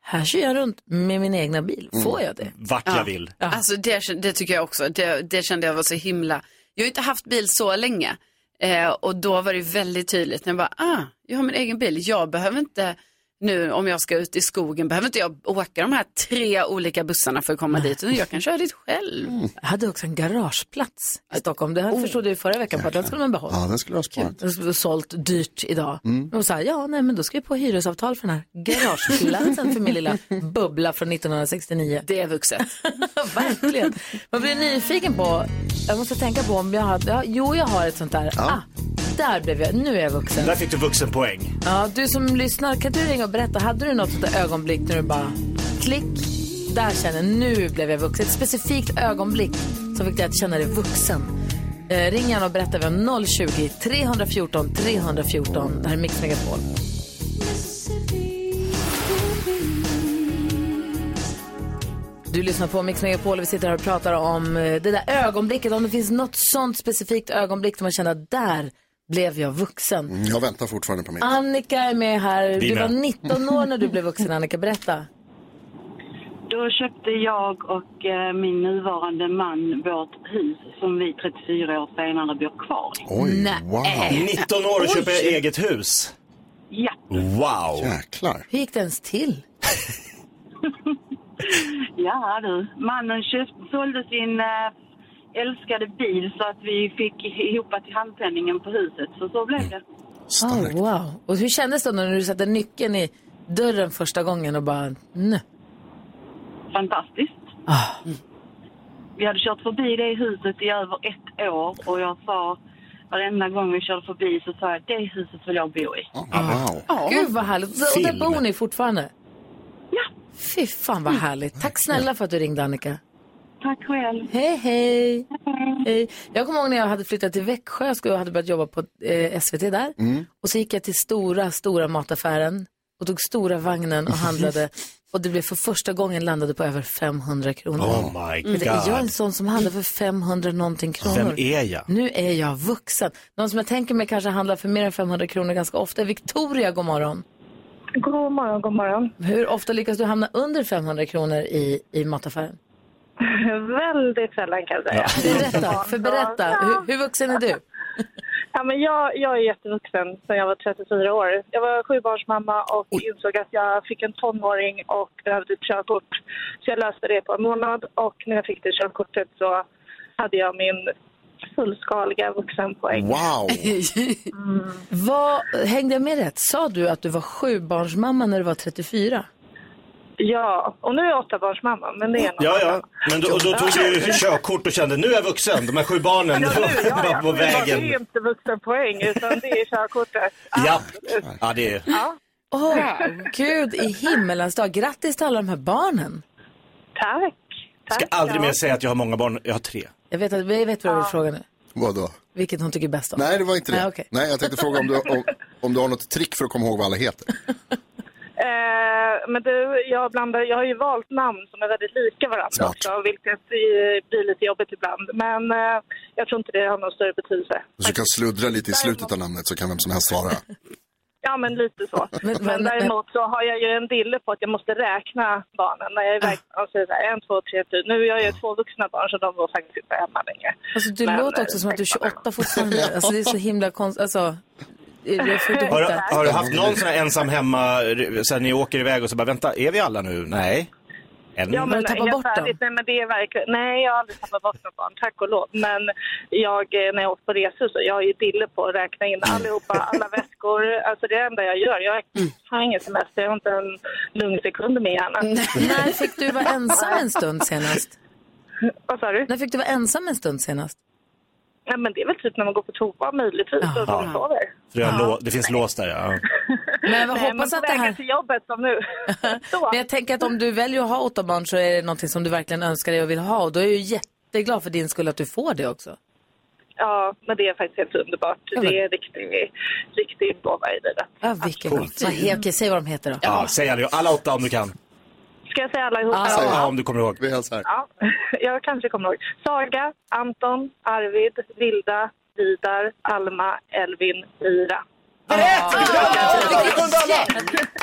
Speaker 1: här kör jag runt med min egna bil, får jag det?
Speaker 7: Mm. Vart jag vill.
Speaker 5: Alltså det, det tycker jag också. Det, det kände jag var så himla. Jag har ju inte haft bil så länge. Eh, och då var det väldigt tydligt när jag bara, ah, jag har min egen bil. Jag behöver inte nu om jag ska ut i skogen, behöver inte jag åka de här tre olika bussarna för att komma dit. Utan jag kan köra dit själv.
Speaker 1: Jag hade också en garageplats i Stockholm. Det här förstod jag ju förra veckan på att den skulle man behålla.
Speaker 3: Ja, den skulle jag ha sparat. Mm.
Speaker 1: Den skulle vara sålt dyrt idag. Och så här, ja, nej, men då ska vi på hyresavtal för den här garageplatsen för min lilla bubbla från 1969.
Speaker 5: Det är vuxet.
Speaker 1: Verkligen. Man blir nyfiken på, jag måste tänka på om jag har, ja, jo jag har ett sånt där, ah, där blev jag, nu är jag vuxen.
Speaker 7: Där fick du vuxenpoäng.
Speaker 1: Ja, du som lyssnar, kan du ringa och berätta, hade du något sånt där ögonblick när du bara, klick, där känner jag, nu blev jag vuxen. Ett specifikt ögonblick som fick dig att känna dig vuxen. Eh, ring gärna och berätta, vi har 020 314 314. Det här är Mix Megapol. Du lyssnar på Mix Megapol och vi sitter här och pratar om eh, det där ögonblicket, om det finns något sånt specifikt ögonblick där man känner att där blev jag vuxen. Ah.
Speaker 3: Mm, Jag väntar fortfarande på min.
Speaker 1: Annika är med här. Du
Speaker 3: Vi
Speaker 1: var
Speaker 3: med.
Speaker 1: 19 år när du blev vuxen, Annika. Berätta.
Speaker 11: Då köpte jag och eh, min nuvarande man vårt hus som vi 34 år senare bor kvar i.
Speaker 3: Oj,
Speaker 1: Nej.
Speaker 3: wow.
Speaker 7: 19 år och
Speaker 11: Oj.
Speaker 7: köper eget hus.
Speaker 11: Ja,
Speaker 7: Wow.
Speaker 3: Jäklar.
Speaker 1: Hur gick det ens till?
Speaker 11: ja du. Mannen köpt, sålde sin eh, älskade bil så att vi fick ihop till handpenningen på huset. Så så blev det.
Speaker 1: Oh, wow. Och hur kändes det när du satte nyckeln i dörren första gången och bara, nu.
Speaker 11: Fantastiskt.
Speaker 1: Ah.
Speaker 11: vi hade kört förbi det huset i över ett år och jag sa varenda gång vi körde förbi så sa jag det huset vill jag bo i.
Speaker 3: Ah. Wow.
Speaker 1: Gud vad härligt. Så- Och
Speaker 11: Film.
Speaker 1: där bor ni fortfarande? Ja. Fy fan vad härligt. Tack snälla för att du ringde Annika.
Speaker 11: Tack själv.
Speaker 1: Hej, hej. hej. Jag kommer ihåg när jag hade flyttat till Växjö jag skulle- och hade börjat jobba på eh, SVT där.
Speaker 7: Mm.
Speaker 1: Och så gick jag till stora, stora mataffären och tog stora vagnen och handlade. och det blev för första gången landade på över 500 kronor.
Speaker 7: Oh my
Speaker 1: Men det- Är
Speaker 7: God.
Speaker 1: jag en sån som handlar för 500 någonting kronor?
Speaker 7: Vem är jag?
Speaker 1: Nu är jag vuxen. Någon som jag tänker mig kanske handlar för mer än 500 kronor ganska ofta är Victoria, god morgon.
Speaker 8: God morgon, god morgon.
Speaker 1: Hur ofta lyckas du hamna under 500 kronor i, i mataffären?
Speaker 8: Väldigt sällan kan jag säga.
Speaker 1: Berätta, för berätta. Hur, hur vuxen är du?
Speaker 8: Ja, men jag, jag är jättevuxen sen jag var 34 år. Jag var sjubarnsmamma och insåg att jag fick en tonåring och behövde ett körkort. Så jag löste det på en månad och när jag fick det körkortet så hade jag min fullskaliga vuxenpoäng.
Speaker 1: Vad, hängde jag med rätt? Sa du att du var sjubarnsmamma när du var 34?
Speaker 8: Ja, och nu är jag åttabarnsmamma, men det är en
Speaker 7: Ja, ja. Men då, och då tog du körkort och kände nu är jag vuxen. De här sju barnen var var på
Speaker 8: Det
Speaker 7: vägen.
Speaker 8: är inte vuxenpoäng, utan det är körkortet.
Speaker 7: Ja, ja det är...
Speaker 1: Åh, gud i himmelens dag. Grattis till alla de här barnen.
Speaker 8: Tack.
Speaker 7: Ska aldrig mer säga att jag har många barn. Jag har tre.
Speaker 1: Jag vet, att, jag vet vad du vill fråga nu.
Speaker 3: Vadå?
Speaker 1: Vilket hon tycker bäst om.
Speaker 3: Nej, det var inte det.
Speaker 1: Nej, Ah, okej.
Speaker 3: Nej, jag tänkte fråga om du, om, om du har något trick för att komma ihåg vad alla heter.
Speaker 8: Eh, men du, jag, blandar, jag har ju valt namn som är väldigt lika varandra
Speaker 3: Smart.
Speaker 8: också, vilket eh, blir lite jobbigt ibland. Men eh, jag tror inte det har någon större betydelse.
Speaker 3: Så du kan sluddra lite i slutet av namnet så kan vem som helst svara.
Speaker 8: Ja, men lite så.
Speaker 1: Men-
Speaker 8: men,
Speaker 1: men-
Speaker 8: däremot så har jag ju en dille på att jag måste räkna barnen när jag är iväg. och säger så här, en, två, tre, fyra. Nu har jag ju två vuxna barn så de var faktiskt inte hemma längre.
Speaker 1: Alltså, du
Speaker 8: Men,
Speaker 1: låter också
Speaker 8: eh,
Speaker 1: som att du är 28 fortfarande. Alltså, det är så himla konstigt. Alltså, jag får inte
Speaker 7: Har,
Speaker 1: ihop
Speaker 7: du-
Speaker 1: det.
Speaker 7: har du haft någon sån här ensam hemma, så här, ni åker iväg och så bara vänta, är vi alla nu? Nej.
Speaker 1: Mm.
Speaker 7: En...
Speaker 8: Ja, men, helt ärligt, Nej, men det är verkligen... Nej, jag har aldrig tappat bort något barn, tack och lov. Men jag, eh, när jag åker på resor så jag har ju dille på att räkna in
Speaker 1: Mm.
Speaker 8: allihopa, alla väskor. Alltså det är det enda jag gör. Jag har ingen semester, jag har inte en lugn sekund i min hjärna.
Speaker 1: När fick du vara ensam en stund senast?
Speaker 8: Vad sa du?
Speaker 1: När fick du vara ensam en stund senast?
Speaker 8: Nej, men det är väl typ när man går på toa möjligtvis och
Speaker 7: Jaha.
Speaker 8: de sover.
Speaker 7: För det, har lå... det finns lås där ja.
Speaker 1: Men jag
Speaker 8: Nej,
Speaker 1: hoppas
Speaker 8: men på
Speaker 1: att det här...
Speaker 8: vägen till jobbet som nu.
Speaker 1: Men jag tänker att om du väljer att ha åtta barn så är det någonting som du verkligen önskar dig och vill ha. Och då är jag ju jätteglad för din skull att du får det också.
Speaker 8: Ja, men det är faktiskt helt underbart.
Speaker 1: Ja, men-
Speaker 8: Det är riktigt, riktigt gåva i livet.
Speaker 1: Ja, vilken
Speaker 7: Coolt.
Speaker 1: vad he- Okej, säg vad de heter då.
Speaker 7: ja. Säg alla, alla åtta om du kan.
Speaker 8: Ska jag säga allihopa?
Speaker 7: Ja, om du kommer ihåg.
Speaker 3: Vi hälsar.
Speaker 8: Ja, jag kanske kommer ihåg. Saga, Anton, Arvid, Vilda, Vidar, Alma, Elvin, Ira.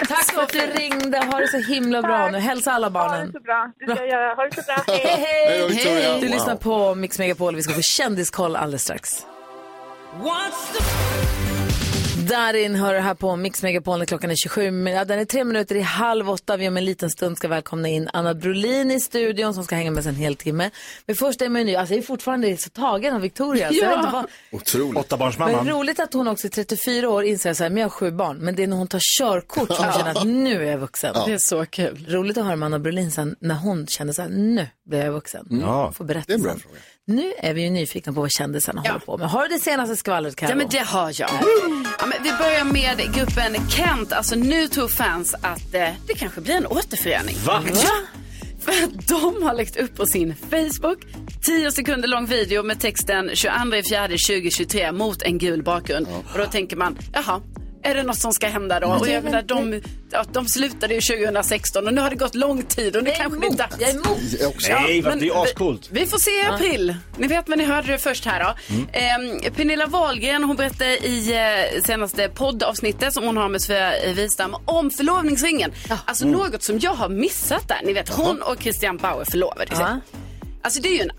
Speaker 1: Tack för att du ringde. Ha det så himla bra nu. Hälsa alla
Speaker 8: Ha det
Speaker 1: barnen.
Speaker 8: så bra. Det ska jag göra. Ha det så bra.
Speaker 1: Hej,
Speaker 3: Hej då,
Speaker 1: hej!
Speaker 3: Victoria.
Speaker 1: Du
Speaker 3: Wow.
Speaker 1: lyssnar på Mix Megapol. Vi ska få kändiskoll alldeles strax. Darin hör det här på Mix Megapol när klockan är 27. min- Ja, den är tre minuter i halv åtta. Vi om en liten stund ska välkomna in Anna Brolin i studion som ska hänga med oss en hel timme. Men först är man ju ny. Alltså jag är fortfarande så tagen av Victoria. Så jag vet inte vad...
Speaker 3: Otroligt.
Speaker 1: Men
Speaker 7: Åttabarnsmamman.
Speaker 1: roligt att hon också i 34 år inser så här, men jag har sju barn. Men det är när hon tar körkort som hon känner att nu är jag vuxen.
Speaker 5: Det är så kul.
Speaker 1: Roligt att höra med Anna Brolin sen när hon kände så här, nu blir jag vuxen.
Speaker 7: Ja.
Speaker 1: Får berätta
Speaker 3: Mm. Det är en bra
Speaker 1: sen.
Speaker 3: fråga.
Speaker 1: Nu är vi ju nyfikna på vad kändisarna håller på med. Har du det senaste skvallret Carro?
Speaker 5: Ja, men det har jag. Ja, men vi börjar med gruppen Kent. Alltså nu tror fans att eh, det kanske blir en återförening. Mm.
Speaker 7: Va?
Speaker 5: Ja, för att de har lagt upp på sin Facebook 10 sekunder lång video med texten 22 fjärde 2023 mot en gul bakgrund. Och då tänker man, jaha. Är det något som ska hända då?
Speaker 1: Mm.
Speaker 5: Och jag menar, de, ja, de slutade ju 2016 och nu har det gått lång tid och nu
Speaker 1: Jag är
Speaker 5: kanske det är
Speaker 1: emot.
Speaker 5: dags.
Speaker 1: Jag är emot.
Speaker 3: Jag är också.
Speaker 7: Nej, vad-
Speaker 5: Men
Speaker 7: det är ju ascoolt.
Speaker 5: Vi får se i april. Ni vet, men ni hörde det först här. Då.
Speaker 1: Mm.
Speaker 5: Eh, Pernilla Wahlgren hon berättade i eh, senaste poddavsnittet som hon har med Sofia eh, Wistam om förlovningsringen. Alltså
Speaker 1: Mm.
Speaker 5: något som jag har missat där. Ni vet, hon och Christian Bauer förlovade sig.
Speaker 1: Ja.
Speaker 5: Alltså det är ju en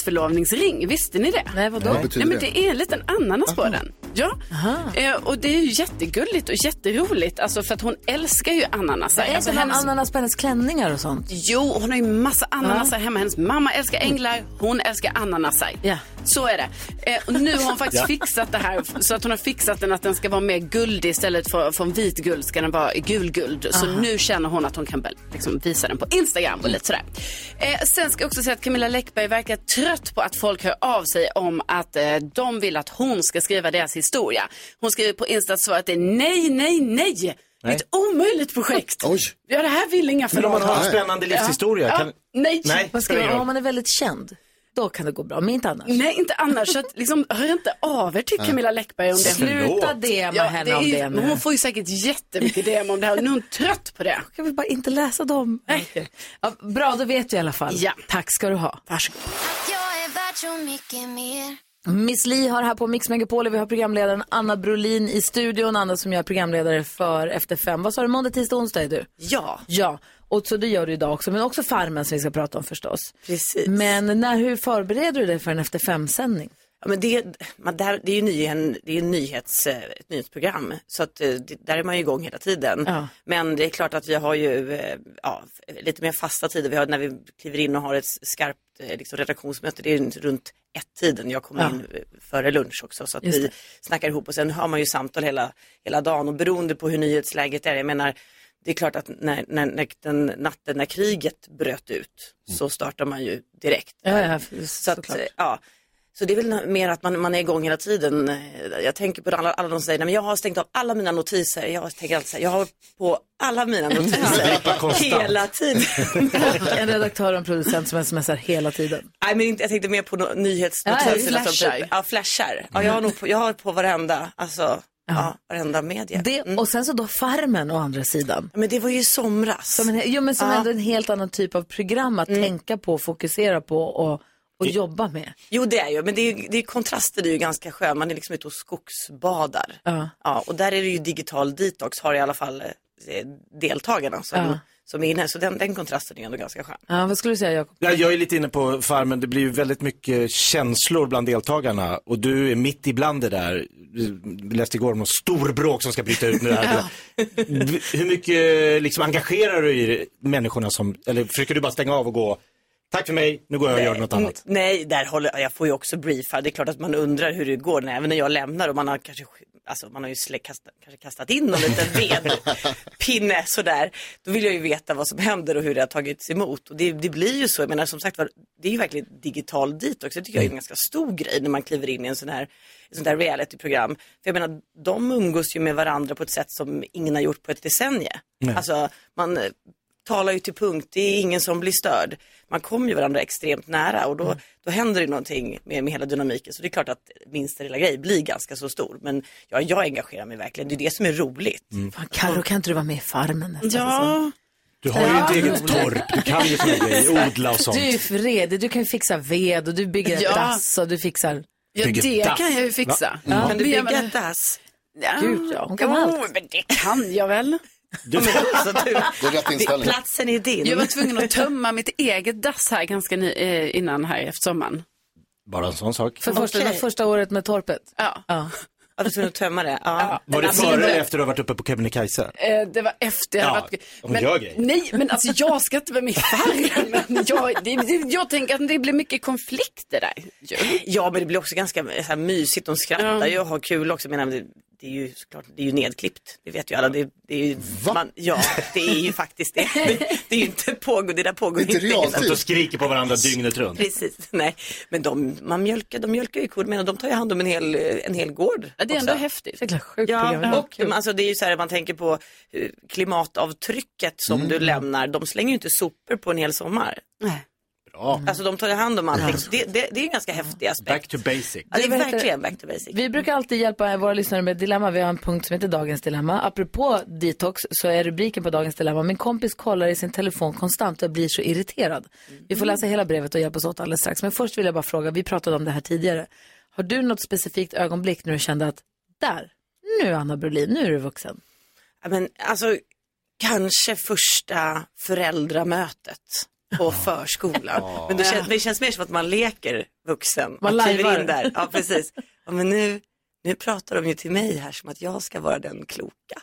Speaker 5: ananasförlovningsring. Visste ni det?
Speaker 1: Nej, vadå?
Speaker 3: Vad betyder
Speaker 5: Nej, men
Speaker 3: det?
Speaker 5: det är en liten ananas på den. Ja. Eh, och det är ju jättegulligt och jätteroligt. Alltså för att hon älskar ju ananasar.
Speaker 1: Är
Speaker 5: alltså,
Speaker 1: inte hennes... ananas på hennes klänningar och sånt?
Speaker 5: Jo, hon har ju massa ananasar hemma. Hennes mamma älskar änglar, hon älskar ananasar.
Speaker 1: Ja.
Speaker 5: Så är det. Eh, och nu har hon faktiskt
Speaker 7: Ja.
Speaker 5: fixat det här så att hon har fixat den att den ska vara mer guldig istället för från vit guld ska den vara gulguld. Så
Speaker 12: Aha.
Speaker 5: nu känner hon att hon kan väl liksom visa den på Instagram och lite sådär. Eh, sen ska jag också säga att Camilla Läckberg verkar trött på att folk hör av sig om att eh, de vill att hon ska skriva deras historia. Hon skriver på Insta att svaret är nej, nej, nej. Det är
Speaker 7: Nej.
Speaker 5: ett omöjligt projekt.
Speaker 3: Oj.
Speaker 5: Ja, det här vill inga
Speaker 7: Men om man har en
Speaker 5: förlag.
Speaker 7: spännande livshistoria,
Speaker 5: Ja.
Speaker 7: kan-
Speaker 5: Ja, nej,
Speaker 7: Nej,
Speaker 1: Vad ska
Speaker 7: spelar ingen
Speaker 1: man,
Speaker 7: roll.
Speaker 1: om man är väldigt känd, då kan det gå bra, men inte annars.
Speaker 5: Nej, inte annars. Så att, liksom, hör inte av er till
Speaker 1: Nej.
Speaker 5: Camilla Läckberg om det.
Speaker 1: Sluta DMa henne
Speaker 5: är
Speaker 1: om
Speaker 5: ju-
Speaker 1: det nu.
Speaker 5: Hon får ju säkert jättemycket DM om det här och nu är hon trött på det.
Speaker 1: Kan vi bara inte läsa dem? Ja, bra, då vet du i alla fall.
Speaker 5: Ja.
Speaker 1: Tack ska du ha.
Speaker 5: Varsågod.
Speaker 6: Jag är värd så mycket mer.
Speaker 1: Miss Li har här på Mix Megapol och vi har programledaren Anna Brolin i studion. Anna som jag är programledare för Efter fem. Vad sa du, måndag, tisdag, onsdag är du?
Speaker 5: Ja.
Speaker 1: Ja, och så det gör du idag också. Men också Farmen som vi ska prata om förstås.
Speaker 12: Precis.
Speaker 1: Men när, hur förbereder du dig för en Efter fem-sändning?
Speaker 12: Ja, men det, man, där, det är ju ny, en, det är en nyhets, eh, ett nyhetsprogram, så att, eh, det, där är man ju igång hela tiden.
Speaker 1: Ja.
Speaker 12: Men det är klart att vi har ju eh, ja, f- lite mer fasta tider. Vi har, när vi kliver in och har ett skarpt eh, liksom, redaktionsmöte, det är ju runt ett-tiden. Jag kommer
Speaker 1: Ja.
Speaker 12: in eh, före lunch också, så att
Speaker 1: Just
Speaker 12: vi
Speaker 1: det.
Speaker 12: snackar ihop och sen har man ju samtal hela, hela dagen och beroende på hur nyhetsläget är, jag menar, det är klart att när, när, när den natten när kriget bröt ut så startar man ju direkt.
Speaker 1: Mm. Ja, ja,
Speaker 12: så att, eh, ja. Så det är väl mer att man, man är igång hela tiden. Eh, Jag tänker på alla, alla de som säger, nej men jag har stängt av alla mina notiser. Jag tänker alltid så här, jag har på alla mina
Speaker 1: Vibrar
Speaker 12: notiser
Speaker 1: konstant.
Speaker 12: hela tiden.
Speaker 1: en redaktör och en producent som smsar hela tiden.
Speaker 12: Nej men inte, jag tänkte mer på no-
Speaker 1: Ja,
Speaker 12: nyhetsnotiser.
Speaker 1: ja,
Speaker 12: alltså,
Speaker 1: flashar.
Speaker 12: typ. Ja, flashar. Ja, jag har nog på, jag har på varenda, alltså, ja, varenda media.
Speaker 1: Det, Och sen så då Farmen å andra sidan.
Speaker 12: Men det var ju i somras.
Speaker 1: Som en, jo, men som
Speaker 12: Ja. Mm.
Speaker 1: ändå en helt annan typ av program att tänka på, fokusera på och, och jobba med.
Speaker 12: Jo det är ju, men det är, ju- det är kontraster det är ju ganska skön. Man är liksom ute och skogsbadar.
Speaker 1: Ja.
Speaker 12: Ja, och där är det ju digital detox har i alla fall eh, deltagarna som,
Speaker 1: Ja.
Speaker 12: som är inne. Så den, den kontrasten är ändå ganska skön.
Speaker 1: Ja, vad skulle du säga Jakob?
Speaker 7: Ja, jag är lite inne på Farmen, det blir ju väldigt mycket känslor bland deltagarna och du är mitt ibland det där. Vi läste igår om någon stor bråk som ska bryta ut nu. Här. Hur mycket liksom, engagerar du i människorna som, eller försöker du bara stänga av och gå, tack för mig, nu går jag och gör något annat.
Speaker 12: Mm, Nej, där håller, ja, jag får ju också briefar. Det är klart att man undrar hur det går, när, även när jag lämnar och man har kanske Alltså man har ju slä, kastat, kanske kastat in någon liten vedpinne sådär. Då vill jag ju veta vad som händer och hur det har tagits emot. Och det, det blir ju så, jag menar som sagt var, det är ju verkligen digital detox. Det tycker jag är en
Speaker 7: Mm.
Speaker 12: ganska stor grej när man kliver in i en sån här, ett sånt här realityprogram. För jag menar, de umgås ju med varandra på ett sätt som ingen har gjort på ett decennium.
Speaker 2: Nej.
Speaker 12: Alltså man eh, talar ju till punkt, det är ingen som blir störd. Man kommer ju varandra extremt nära och då,
Speaker 7: Mm.
Speaker 12: då händer det någonting med, med hela dynamiken. Så det är klart att minsta lilla grej blir ganska så stor. Men ja, jag engagerar mig verkligen, det är det som är roligt.
Speaker 5: Mm.
Speaker 1: Fan, Carro, kan inte du vara med i Farmen? nästa
Speaker 12: Ja.
Speaker 7: Du
Speaker 1: har ju ett
Speaker 7: eget torp, du kan ju såna grejer, odla och sånt.
Speaker 1: Du är fredig, du kan ju fixa ved och du bygger ett
Speaker 5: Ja.
Speaker 1: dass och du fixar.
Speaker 5: Ja, Bygger det dass. kan jag ju fixa. Va?
Speaker 7: Mm.
Speaker 5: Mm.
Speaker 1: Ja.
Speaker 5: Kan du bygga ett
Speaker 12: dass?
Speaker 1: Gud, ja, hon kan
Speaker 5: jo,
Speaker 1: allt.
Speaker 5: men det kan jag väl.
Speaker 7: Du,
Speaker 12: alltså, du,
Speaker 3: Det är rätt inställning.
Speaker 12: Platsen är din.
Speaker 5: Jag var tvungen att tömma mitt eget dass här ganska ny, eh, innan här efter sommaren.
Speaker 7: Bara en sån sak.
Speaker 1: För första, det var första året med torpet?
Speaker 5: Ja.
Speaker 1: ja.
Speaker 12: Jag var tvungen att tömma det. Ja.
Speaker 7: Var det
Speaker 5: Alltså,
Speaker 7: före
Speaker 5: det-
Speaker 7: eller efter du har varit uppe på Kebnekaise?
Speaker 5: Eh, det var efter jag
Speaker 7: Ja,
Speaker 5: hade varit...
Speaker 7: hon gör grejer.
Speaker 5: Nej, men alltså jag ska inte vara med i Farmen. Men Jag, det, det, jag tänker att det blir mycket konflikter där.
Speaker 12: Ja, men det blir också ganska eh, så här, mysigt. De skrattar
Speaker 5: Ja.
Speaker 12: ju och har kul också. Men, det, det är ju såklart, det är ju nedklippt. Det vet ju alla. Det, det är ju, man, ja, det är ju faktiskt det. Det, det är ju inte pågår, det där pågår
Speaker 7: Sitter och skriker på varandra dygnet runt.
Speaker 12: Precis, nej. Men de, man mjölkar, de mjölkar ju kor, men de tar ju hand om en hel, eh, en hel gård.
Speaker 5: Ja, det är
Speaker 12: också.
Speaker 5: ändå häftigt. Jäkla sjukt program.
Speaker 12: Ja,
Speaker 5: Ja,
Speaker 12: och alltså, det är ju så här, man tänker på eh, klimatavtrycket som du lämnar. De slänger ju inte sopor på en hel sommar.
Speaker 7: Bra.
Speaker 1: Mm.
Speaker 12: Alltså de tar ju hand om allting. Så Det, det, det är en ganska häftig aspekt.
Speaker 7: Back to basic.
Speaker 12: Ja, det är
Speaker 1: Vad heter
Speaker 12: verkligen back to basic.
Speaker 1: Vi brukar alltid hjälpa våra lyssnare med dilemma. Vi har en punkt som heter Dagens Dilemma. Apropå detox så är rubriken på Dagens Dilemma. Min kompis kollar i sin telefon konstant och jag blir så irriterad. Vi får läsa hela brevet och hjälpas åt alldeles strax. Men först vill jag bara fråga, vi pratade om det här tidigare. Har du något specifikt ögonblick när du kände att där, nu Anna Brolin, nu är du vuxen?
Speaker 12: Ja, men, alltså, kanske första föräldramötet på förskolan. Men det känns, det känns mer som att man leker vuxen.
Speaker 1: Man
Speaker 12: kliver
Speaker 1: lajvar.
Speaker 12: in där. Ja, precis. Ja, men nu, nu pratar de ju till mig här som att jag ska vara den kloka.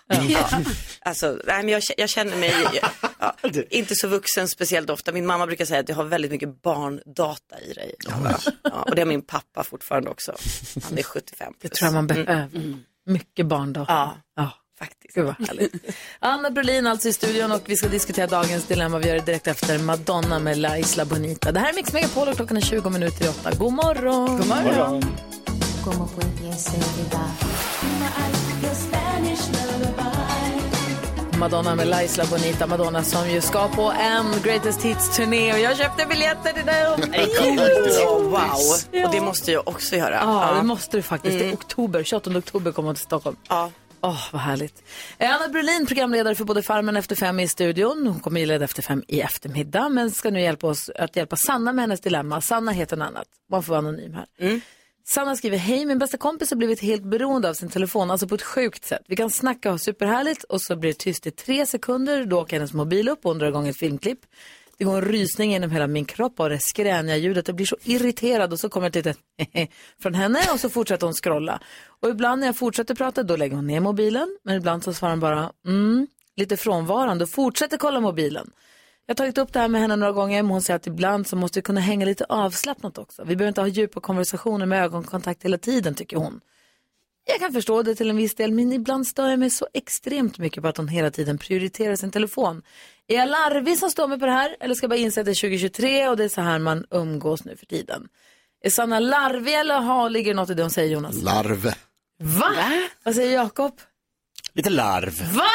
Speaker 12: Alltså, nej, men jag, k- jag känner mig ja, inte så vuxen speciellt ofta. Min mamma brukar säga att du har väldigt mycket barndata i dig. Ja, och det har min pappa fortfarande också. Han är Mm, 75
Speaker 1: Det
Speaker 12: plus.
Speaker 1: tror jag man behöver. Mycket barn då. Ja,
Speaker 12: faktiskt.
Speaker 1: Gud vad härligt. Anna Brolin alltså i studion och vi ska diskutera dagens dilemma. Vi gör det direkt efter Madonna med La Isla Bonita. Det här är Mix Megapol och klockan är 20 minuter i åtta. God morgon! God
Speaker 6: morgon. Como puedes olvidar
Speaker 7: Mm.
Speaker 1: Mm-hmm.
Speaker 6: your Spanish lullaby.
Speaker 1: Madonna med La Isla Bonita. Madonna som ju ska på en Greatest Hits-turné och jag köpte biljetter till den.
Speaker 12: Ja, wow, och det måste jag också göra. Mm.
Speaker 1: Ja, det måste du faktiskt. Det är oktober, 28 oktober kommer hon till Stockholm.
Speaker 12: Ja.
Speaker 1: Åh, vad härligt. Eh, Anna Brulin, programledare för både Farmen och Efter fem i studion. Hon kommer ju leda Efter fem i eftermiddag, men ska nu hjälpa oss att hjälpa Sanna med hennes dilemma. Sanna heter något annat. Man får vara anonym här.
Speaker 12: Mm.
Speaker 1: Sanna skriver, hej min bästa kompis har blivit helt beroende av sin telefon, alltså på ett sjukt sätt. Vi kan snacka och ha superhärligt och så blir det tyst i tre sekunder, då åker hennes mobil upp och hon drar igång ett filmklipp. Det går en rysning genom hela min kropp av det skräniga ljudet. Jag blir så irriterad och så kommer ett litet från henne och så fortsätter hon scrolla. Och ibland när jag fortsätter prata då lägger hon ner mobilen, men ibland så svarar hon bara mm, lite frånvarande och fortsätter kolla mobilen. Jag har tagit upp det här med henne några gånger, men hon säger att ibland så måste vi kunna hänga lite avslappnat också. Vi behöver inte ha djupa konversationer med ögonkontakt hela tiden, tycker hon. Jag kan förstå det till en viss del, men ibland stör jag mig så extremt mycket på att hon hela tiden prioriterar sin telefon. Är jag larvig som står mig på det här, eller ska jag bara inse att det är 2023 och det är så här man umgås nu för tiden? Är Sanna larvig eller har, ligger det något i det hon säger, Jonas?
Speaker 3: Larve.
Speaker 1: Va? Vad säger Jakob?
Speaker 7: Lite larv.
Speaker 1: Va?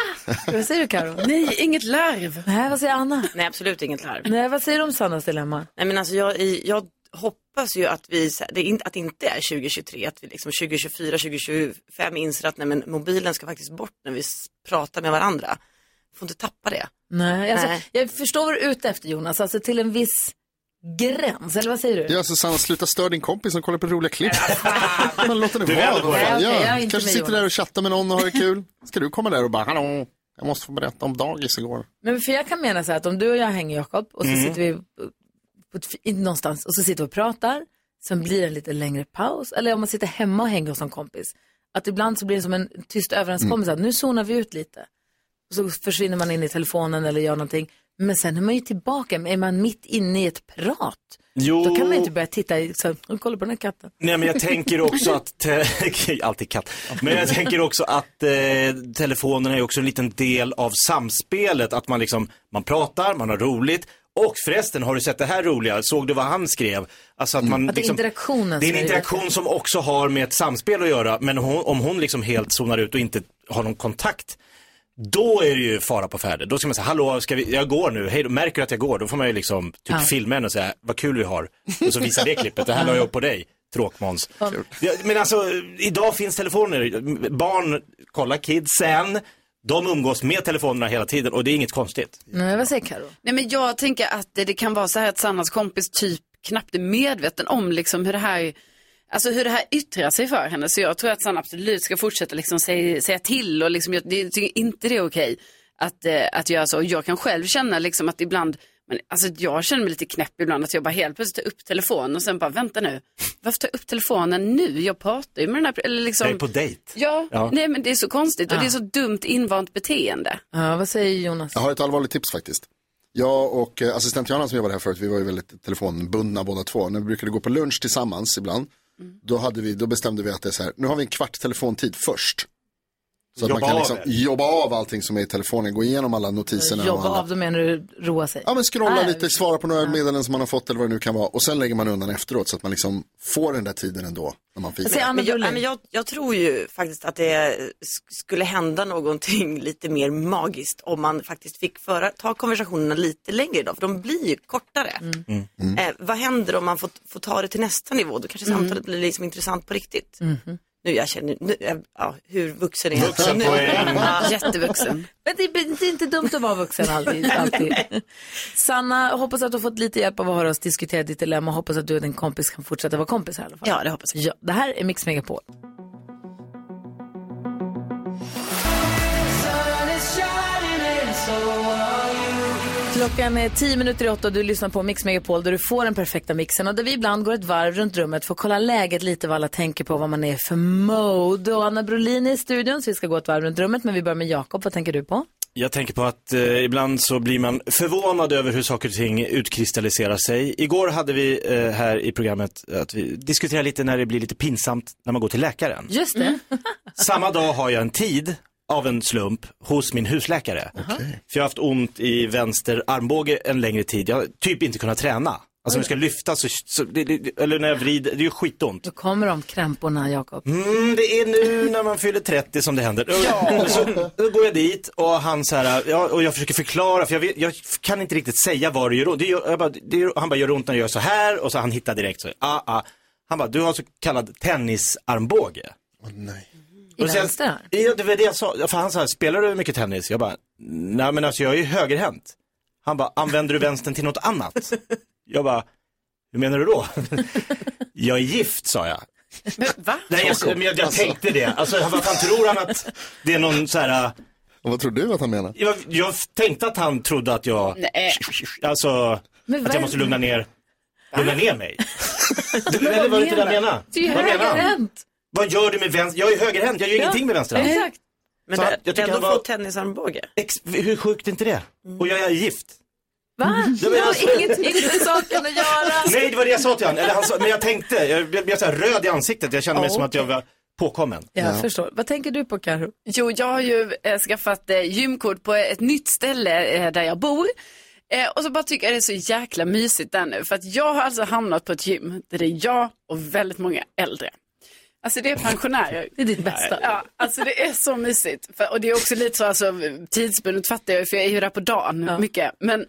Speaker 1: Vad säger du, Karo?
Speaker 12: Nej, inget larv.
Speaker 1: Nej, vad säger Anna?
Speaker 12: Nej, absolut inget larv.
Speaker 1: Nej, vad säger du om Sannas dilemma?
Speaker 12: Nej men alltså jag, jag hoppas ju att, vi, så här- det, är inte- att det inte är 2023, att vi liksom 2024, 2025 inser att nej, men mobilen ska faktiskt bort när vi s- pratar med varandra. Får inte tappa det.
Speaker 1: Nej, alltså,
Speaker 12: Nej.
Speaker 1: jag förstår vad du är ute efter Jonas, alltså till en viss gräns, eller vad säger du?
Speaker 3: Ja, så Sanna, sluta störa din kompis som kollar på roliga klipp. Men låt henne
Speaker 1: Du är
Speaker 3: vara.
Speaker 1: väl på
Speaker 3: vad fan.
Speaker 1: det. Nej, okej, jag
Speaker 3: Ja,
Speaker 1: är inte
Speaker 3: kanske
Speaker 1: med,
Speaker 3: sitter där och chattar med någon och har det kul. Ska du komma där och bara, hallå, jag måste få berätta om dagis igår.
Speaker 1: Men för jag kan mena så här att om du och jag hänger Jakob och så
Speaker 3: Mm.
Speaker 1: sitter vi på ett, fi- in- någonstans och så sitter vi och pratar, sen blir det en lite längre paus, eller om man sitter hemma och hänger hos en kompis, att ibland så blir det som en tyst överenskommelse
Speaker 7: Mm.
Speaker 1: att nu zonar vi ut lite. Och så försvinner man in i telefonen eller gör någonting, men sen är man ju tillbaka, men är man mitt inne i ett prat,
Speaker 7: Jo.
Speaker 1: då kan man ju inte börja titta i, så här, kolla på den här katten.
Speaker 7: Nej men jag tänker också att, te- alltid katt, men jag tänker också att eh, telefonen är också en liten del av samspelet, att man liksom, man pratar, man har roligt, och förresten har du sett det här roliga, såg du vad han skrev? Alltså att man
Speaker 1: Mm. Att
Speaker 7: liksom,
Speaker 1: interaktionen
Speaker 7: det är
Speaker 1: som
Speaker 7: en
Speaker 1: är
Speaker 7: interaktion som också har med ett samspel att göra, men hon, om hon liksom helt zonar ut och inte har någon kontakt, då är det ju fara på färde. Då ska man säga, hallå, ska vi, jag går nu, hej då, märker du att jag går? Då får man ju liksom typ
Speaker 1: Ja.
Speaker 7: filma henne och säga, vad kul vi har. Och så visa det klippet, det här la jag upp på dig, tråkmåns. Ja, men alltså, idag finns telefoner, barn kollar kidsen, de umgås med telefonerna hela tiden och det är inget konstigt.
Speaker 1: Nej, vad säger Karo?
Speaker 5: Nej, men jag tänker att det, det kan vara så här att Sannas kompis typ knappt är medveten om liksom hur det här Alltså hur det här yttrar sig för henne. Så jag tror att Sanna absolut ska fortsätta liksom säga, säga till. Och liksom, jag det- tycker inte det är okej att, eh, att göra så. Och jag kan själv känna liksom att ibland, men, alltså jag känner mig lite knäpp ibland. Att jag bara helt plötsligt tar upp telefonen och sen bara vänta nu. Varför tar jag upp telefonen nu? Jag pratar ju med den här. Eller liksom,
Speaker 7: Jag är på dejt. Ah.
Speaker 5: Ja,
Speaker 3: Ja.
Speaker 5: nej men det är så konstigt. Och
Speaker 3: Ja.
Speaker 5: det är så dumt invant beteende.
Speaker 1: Ja, vad säger Jonas?
Speaker 3: Jag har ett allvarligt tips faktiskt. Jag och eh, assistent Johanna som jobbade här förut, vi var ju väldigt telefonbundna båda två. När vi brukade gå på lunch tillsammans ibland,
Speaker 1: Mm.
Speaker 3: då, hade vi, då bestämde vi att det är så här, nu har vi en kvart telefontid först. Så att
Speaker 13: Jobba
Speaker 3: man kan
Speaker 13: av
Speaker 3: liksom
Speaker 13: det.
Speaker 3: jobba av allting som är i telefonen, gå igenom alla notiserna. och
Speaker 1: Jobba
Speaker 3: alla...
Speaker 1: av, då menar du roa sig?
Speaker 3: Ja, men scrolla
Speaker 1: Nej.
Speaker 3: lite, svara på några meddelanden som man har fått eller vad det nu kan vara. Och sen lägger man undan efteråt så att man liksom får den där tiden ändå när man fikar.
Speaker 12: Men, men, jag, nej, men jag, jag tror ju faktiskt att det sk- skulle hända någonting lite mer magiskt om man faktiskt fick föra, ta konversationerna lite längre idag, för de blir ju kortare.
Speaker 1: Mm.
Speaker 12: Eh, vad händer om man får, får ta det till nästa nivå? Då kanske
Speaker 2: Mm.
Speaker 12: samtalet blir liksom intressant på riktigt. Nu jag känner, nu, eh, ja, hur vuxen är jag?
Speaker 1: Vuxen
Speaker 12: nu?
Speaker 1: poäng.
Speaker 12: Ja.
Speaker 1: Mm. Jättevuxen. Men det är, det är inte dumt att vara vuxen alltid. alltid. Sanna, hoppas att du har fått lite hjälp av att höra oss diskutera ditt dilemma. Hoppas att du och din kompis kan fortsätta vara kompisar i alla fall.
Speaker 12: Ja, det hoppas
Speaker 1: jag. Ja, det här är Mix Megapol.
Speaker 6: Sun is shining and so are you.
Speaker 1: Klockan är tio minuter i åtta och du lyssnar på Mix Megapol där du får den perfekta mixen och där vi ibland går ett varv runt rummet för att kolla läget lite vad alla tänker på, vad man är för mode. Och Anna Brolin är i studion så vi ska gå ett varv runt rummet men vi börjar med Jakob, vad tänker du på?
Speaker 7: Jag tänker på att eh, ibland så blir man förvånad över hur saker och ting utkristalliserar sig. Igår hade vi eh, här i programmet att vi diskuterade lite när det blir lite pinsamt när man går till läkaren.
Speaker 1: Just det.
Speaker 3: Mm.
Speaker 7: Samma dag har jag en tid av en slump hos min husläkare. För jag har haft ont i vänster armbåge en längre tid. Jag har typ inte kunnat träna. Alltså om jag ska lyfta så, så det, det, eller när jag vrider, det är ju skitont.
Speaker 1: Då kommer de krämporna Jakob.
Speaker 7: Mm, det är nu när man fyller 30 som det händer. Och Så, då går jag dit och han så här, ja, och jag försöker förklara, för jag, vet, jag kan inte riktigt säga var det gör ont. Det gör, jag bara, det gör, han bara, gör ont när jag gör så här och så han hittar direkt så, ah, ah. Han bara, du har så kallad tennisarmbåge.
Speaker 1: I vänster arm?
Speaker 7: Ja, det var det jag sa. För han sa, spelar du mycket tennis? Jag bara, nej men alltså jag är ju högerhänt. Han bara, använder du vänstern till något annat? Jag bara, hur menar du då? jag är gift sa jag.
Speaker 12: Va?
Speaker 7: Nej, jag, men jag, jag tänkte det. Alltså, vad fan tror han att det är någon så här... äh,
Speaker 3: Och vad tror du att han menar?
Speaker 7: Jag, jag tänkte att han trodde att jag,
Speaker 5: Nej.
Speaker 7: alltså,
Speaker 1: Men
Speaker 7: att
Speaker 1: vad-
Speaker 7: jag måste lugna ner, lugna ner mig. det, nej, det var inte det jag menade.
Speaker 1: Du är ju
Speaker 7: Vad menar han?
Speaker 1: högerhänt.
Speaker 7: Vad gör du med vänster? Jag är högerhänt, jag gör
Speaker 1: Ja,
Speaker 7: ingenting med vänster hand.
Speaker 1: Exakt.
Speaker 12: Men
Speaker 7: Så
Speaker 12: det,
Speaker 7: jag tycker
Speaker 12: ändå
Speaker 7: han var-
Speaker 12: få tennisarmbåge.
Speaker 7: Ex, hur sjukt är inte det? Och jag är gift.
Speaker 1: Va?
Speaker 7: Ja, men
Speaker 1: Det
Speaker 7: alltså-
Speaker 1: har inget, inget med saken att göra.
Speaker 7: Nej, det var det jag sa till honom. Eller han sa, men jag tänkte, jag blev jag så här röd i ansiktet. Jag kände mig som att jag var påkommen.
Speaker 1: Jag förstår. Vad tänker du på Karo?
Speaker 5: Jo, jag har ju eh, skaffat eh, gymkort på ett nytt ställe eh, där jag bor. Eh, och så bara tycker jag det är så jäkla mysigt där nu. För att jag har alltså hamnat på ett gym där det är jag och väldigt många äldre. Alltså det är pensionärer.
Speaker 1: Det är ditt bästa.
Speaker 5: Ja, alltså det är så mysigt. För, och det är också lite så alltså, tidsbundet fattar jag ju, för jag är ju där på dagen mycket. Men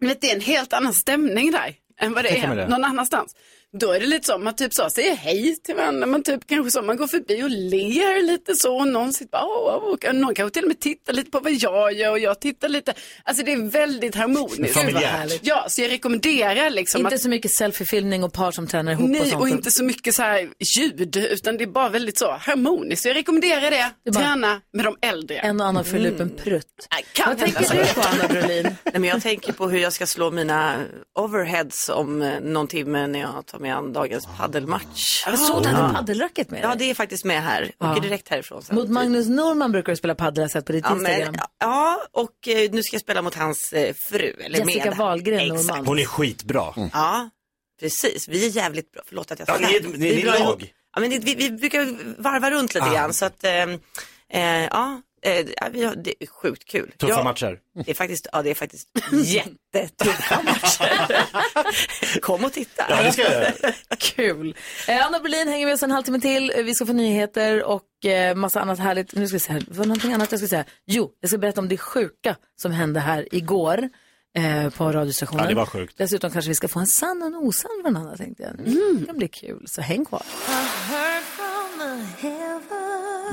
Speaker 5: vet, det är en helt annan stämning där än vad det
Speaker 7: Tänker
Speaker 5: är
Speaker 7: mig det.
Speaker 5: någon annanstans. Då är det lite så, man typ så säger hej till varandra, man typ kanske så, man går förbi och ler lite så och någon sitter bara, åh, åh, åh. någon kanske till och med tittar lite på vad jag gör och jag tittar lite. Alltså det är väldigt harmoniskt.
Speaker 7: Familjärt. Gud, vad härligt.
Speaker 5: Ja, så jag rekommenderar liksom
Speaker 1: Inte
Speaker 5: att
Speaker 1: så mycket selfiefilmning och par som tränar ihop och
Speaker 5: Nej,
Speaker 1: sånt.
Speaker 5: och inte så mycket så här ljud, utan det är bara väldigt så harmoniskt. Så jag rekommenderar det.
Speaker 1: är bara-
Speaker 5: Träna med de äldre. Äh,
Speaker 1: En och annan får mm. en prutt.
Speaker 12: Kan
Speaker 1: Vad
Speaker 12: alltså.
Speaker 1: tänker du Alltså, på Anna Brolin?
Speaker 12: Nej, men jag tänker på hur jag ska slå mina overheads om eh, någon timme när jag tar mig an dagens paddelmatch.
Speaker 1: Jag såg du hade paddelracket med
Speaker 12: Ja,
Speaker 1: dig.
Speaker 12: det är faktiskt med här.
Speaker 1: Ja.
Speaker 12: Åker direkt härifrån sen.
Speaker 1: Mot Magnus Norman brukar du spela paddel, jag har sett på ditt
Speaker 12: Ja,
Speaker 1: Instagram.
Speaker 12: men, ja, och eh, nu ska jag spela mot hans eh, fru. Eller
Speaker 1: Jessica
Speaker 12: med.
Speaker 1: Wahlgren,
Speaker 12: Exakt.
Speaker 1: Norman.
Speaker 7: Hon är skitbra.
Speaker 3: Mm.
Speaker 12: Ja, precis. Vi är jävligt bra. Förlåt att jag
Speaker 7: Ja, ni är-
Speaker 12: Vi
Speaker 7: ni är
Speaker 12: bra
Speaker 7: lag.
Speaker 12: ihop. Ja, men det, vi, vi brukar varva runt lite
Speaker 7: Ah.
Speaker 12: grann. Så att, eh, eh, ja, eh, ja, vi har, det är sjukt kul.
Speaker 7: Tuffa
Speaker 12: jag,
Speaker 7: matcher.
Speaker 12: Det är faktiskt, ja, det är faktiskt jättetuffa matcher. Kom och titta.
Speaker 7: Ja, det ska jag göra.
Speaker 1: Kul. Eh, Anna Berlin hänger med oss en halvtimme till. Eh, Vi ska få nyheter och eh, massa annat härligt. Nu ska vi se här. Det var någonting annat jag ska säga. Jo, jag ska berätta om det sjuka som hände här igår eh, på radiostationen.
Speaker 7: Ja, det var sjukt.
Speaker 1: Dessutom kanske vi ska få en sann och en osann från Anna tänkte jag. Det kan bli kul, så häng kvar.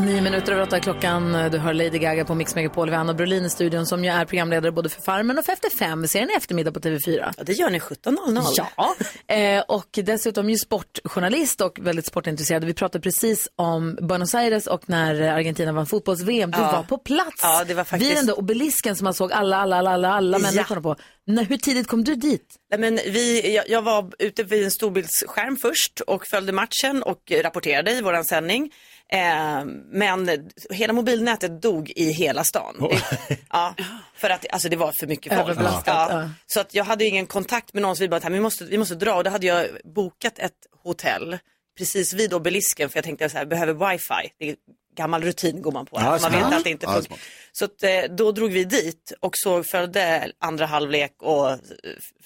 Speaker 1: Nio minuter över åtta är klockan. Du hör Lady Gaga på Mix Megapol. Vi har Anna Brolin i studion som ju är programledare både för Farmen och för Efter fem. Vi ser henne i eftermiddag på TV4.
Speaker 12: Ja, det gör ni 17.00.
Speaker 1: Ja, eh, och dessutom ju sportjournalist och väldigt sportintresserad. Vi pratade precis om Buenos Aires och när Argentina vann fotbolls-VM. Du
Speaker 12: Ja.
Speaker 1: var på plats
Speaker 12: Ja, det var faktiskt-
Speaker 1: vid den där obelisken som man såg alla, alla, alla, alla, alla
Speaker 12: Ja.
Speaker 1: människorna på. När, hur tidigt kom du dit?
Speaker 12: Nej, men vi, jag, jag var ute vid en storbildsskärm först och följde matchen och rapporterade i våran sändning. Eh, men hela mobilnätet dog i hela stan. Ja, för att alltså, det var för mycket folk.
Speaker 1: Överbelastat, ja.
Speaker 12: Så att jag hade ingen kontakt med någon så vi bara, vi måste, vi måste dra och då hade jag bokat ett hotell precis vid obelisken för jag tänkte så här, behöver wifi. Det är gammal rutin går man på.
Speaker 7: Ja,
Speaker 12: man
Speaker 7: smart.
Speaker 12: vet att det inte
Speaker 3: Ja,
Speaker 12: funkar.
Speaker 3: smart.
Speaker 12: Så att, eh, då drog vi dit och så följde andra halvlek och eh,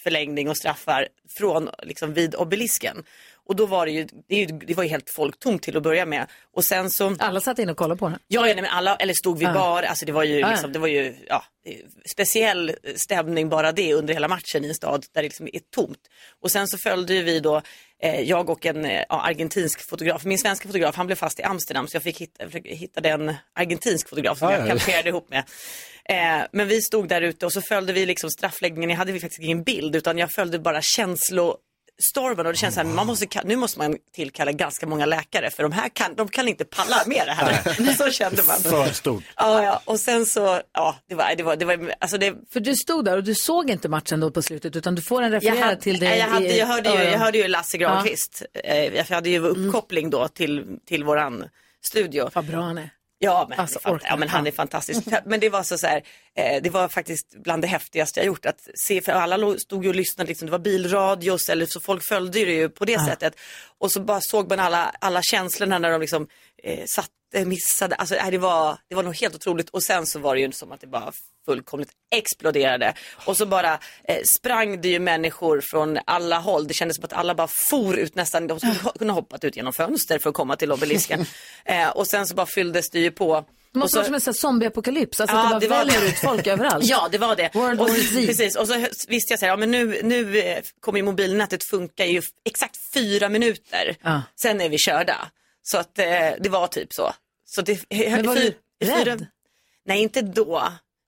Speaker 12: förlängning och straffar från liksom vid obelisken. Och då var det ju, det, är ju- det var ju helt folktomt till att börja med. Och sen så,
Speaker 1: Alla satt inne och kollade på den. Ah.
Speaker 12: ja, ja nej, men alla, eller stod vi
Speaker 1: Ja.
Speaker 12: bar, alltså det var ju,
Speaker 1: Ja, ja.
Speaker 12: liksom, det var ju ja, eh, speciell stämning bara det under hela matchen i en stad där det liksom är tomt. Och sen så följde ju vi då, eh, jag och en eh, ja, argentinsk fotograf, min svenska fotograf han blev fast i Amsterdam så jag fick hitta, försöka hitta den argentinsk fotograf som
Speaker 7: Ja,
Speaker 12: jag
Speaker 7: ja.
Speaker 12: kalkerade ihop med. Eh, men vi stod där ute och så följde vi liksom straffläggningen, jag hade faktiskt ingen bild utan jag följde bara känslor stormen och det känns så här, man måste, ka- nu måste man tillkalla ganska många läkare för de här kan, de kan inte palla med det här. så kände man.
Speaker 7: För stort.
Speaker 12: Ja, ja, och sen så, ja, det var, det var, det var alltså det,
Speaker 1: För du stod där och du såg inte matchen då på slutet utan du får den refererad
Speaker 12: jag hade-
Speaker 1: till
Speaker 12: nej,
Speaker 1: dig.
Speaker 12: Jag, hade,
Speaker 1: i-
Speaker 12: jag, hörde ju, jag hörde ju Lasse
Speaker 1: Ja. Mm.
Speaker 12: Granqvist. Eh, Jag hade ju uppkoppling då till, till våran studio. Vad
Speaker 1: bra han är. Alltså,
Speaker 12: Ja men, han, är fan, ja, men han är fantastisk. Men det var så, så här, eh, det var faktiskt bland det häftigaste jag gjort. Att se, för alla lo- stod ju och lyssnade, liksom, det var bilradios, eller, så folk följde det ju på det sättet. Och så bara såg man alla, alla känslorna när de liksom eh, satte, missade. Alltså, nej, det, var, det var nog helt otroligt. Och sen så var det ju som att det bara fullkomligt exploderade. Och så bara eh, sprang det ju människor från alla håll. Det kändes som att alla bara for ut nästan. De skulle ha- kunna hoppat ut genom fönster för att komma till obelisken. Eh, och sen så bara fylldes det ju på.
Speaker 1: Det
Speaker 12: och
Speaker 1: måste vara
Speaker 12: så,
Speaker 1: som en sån här zombieapokalyps, alltså
Speaker 12: Ja,
Speaker 1: att det
Speaker 12: det
Speaker 1: bara
Speaker 12: var det.
Speaker 1: väller ut folk överallt.
Speaker 12: Ja, det var det.
Speaker 1: World
Speaker 12: och,
Speaker 1: War Z.
Speaker 12: Precis, och så hö- visste jag så här, ja, men nu, nu eh, kommer ju mobilnätet funka i ju f- exakt fyra minuter.
Speaker 1: Ja.
Speaker 12: Sen är vi körda. Så att eh, det var typ så. så det,
Speaker 1: Men var
Speaker 12: i
Speaker 1: du
Speaker 12: i fyra-
Speaker 1: rädd?
Speaker 12: Nej, inte då.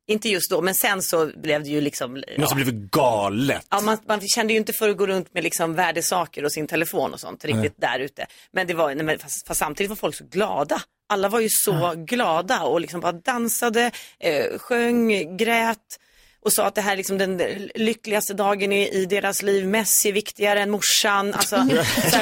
Speaker 12: Inte just då, men sen så blev det ju liksom...
Speaker 7: Det måste
Speaker 12: ja.
Speaker 7: blivit galet.
Speaker 12: Ja, man, man kände ju inte för att gå runt med liksom värdesaker och sin telefon och sånt riktigt där ute. Men, det var, nej, men fast, fast samtidigt var folk så glada. Alla var ju så glada och liksom bara dansade, eh, sjöng, grät och sa att det här är liksom den lyckligaste dagen i, i deras liv. Messi är viktigare än morsan. Alltså, så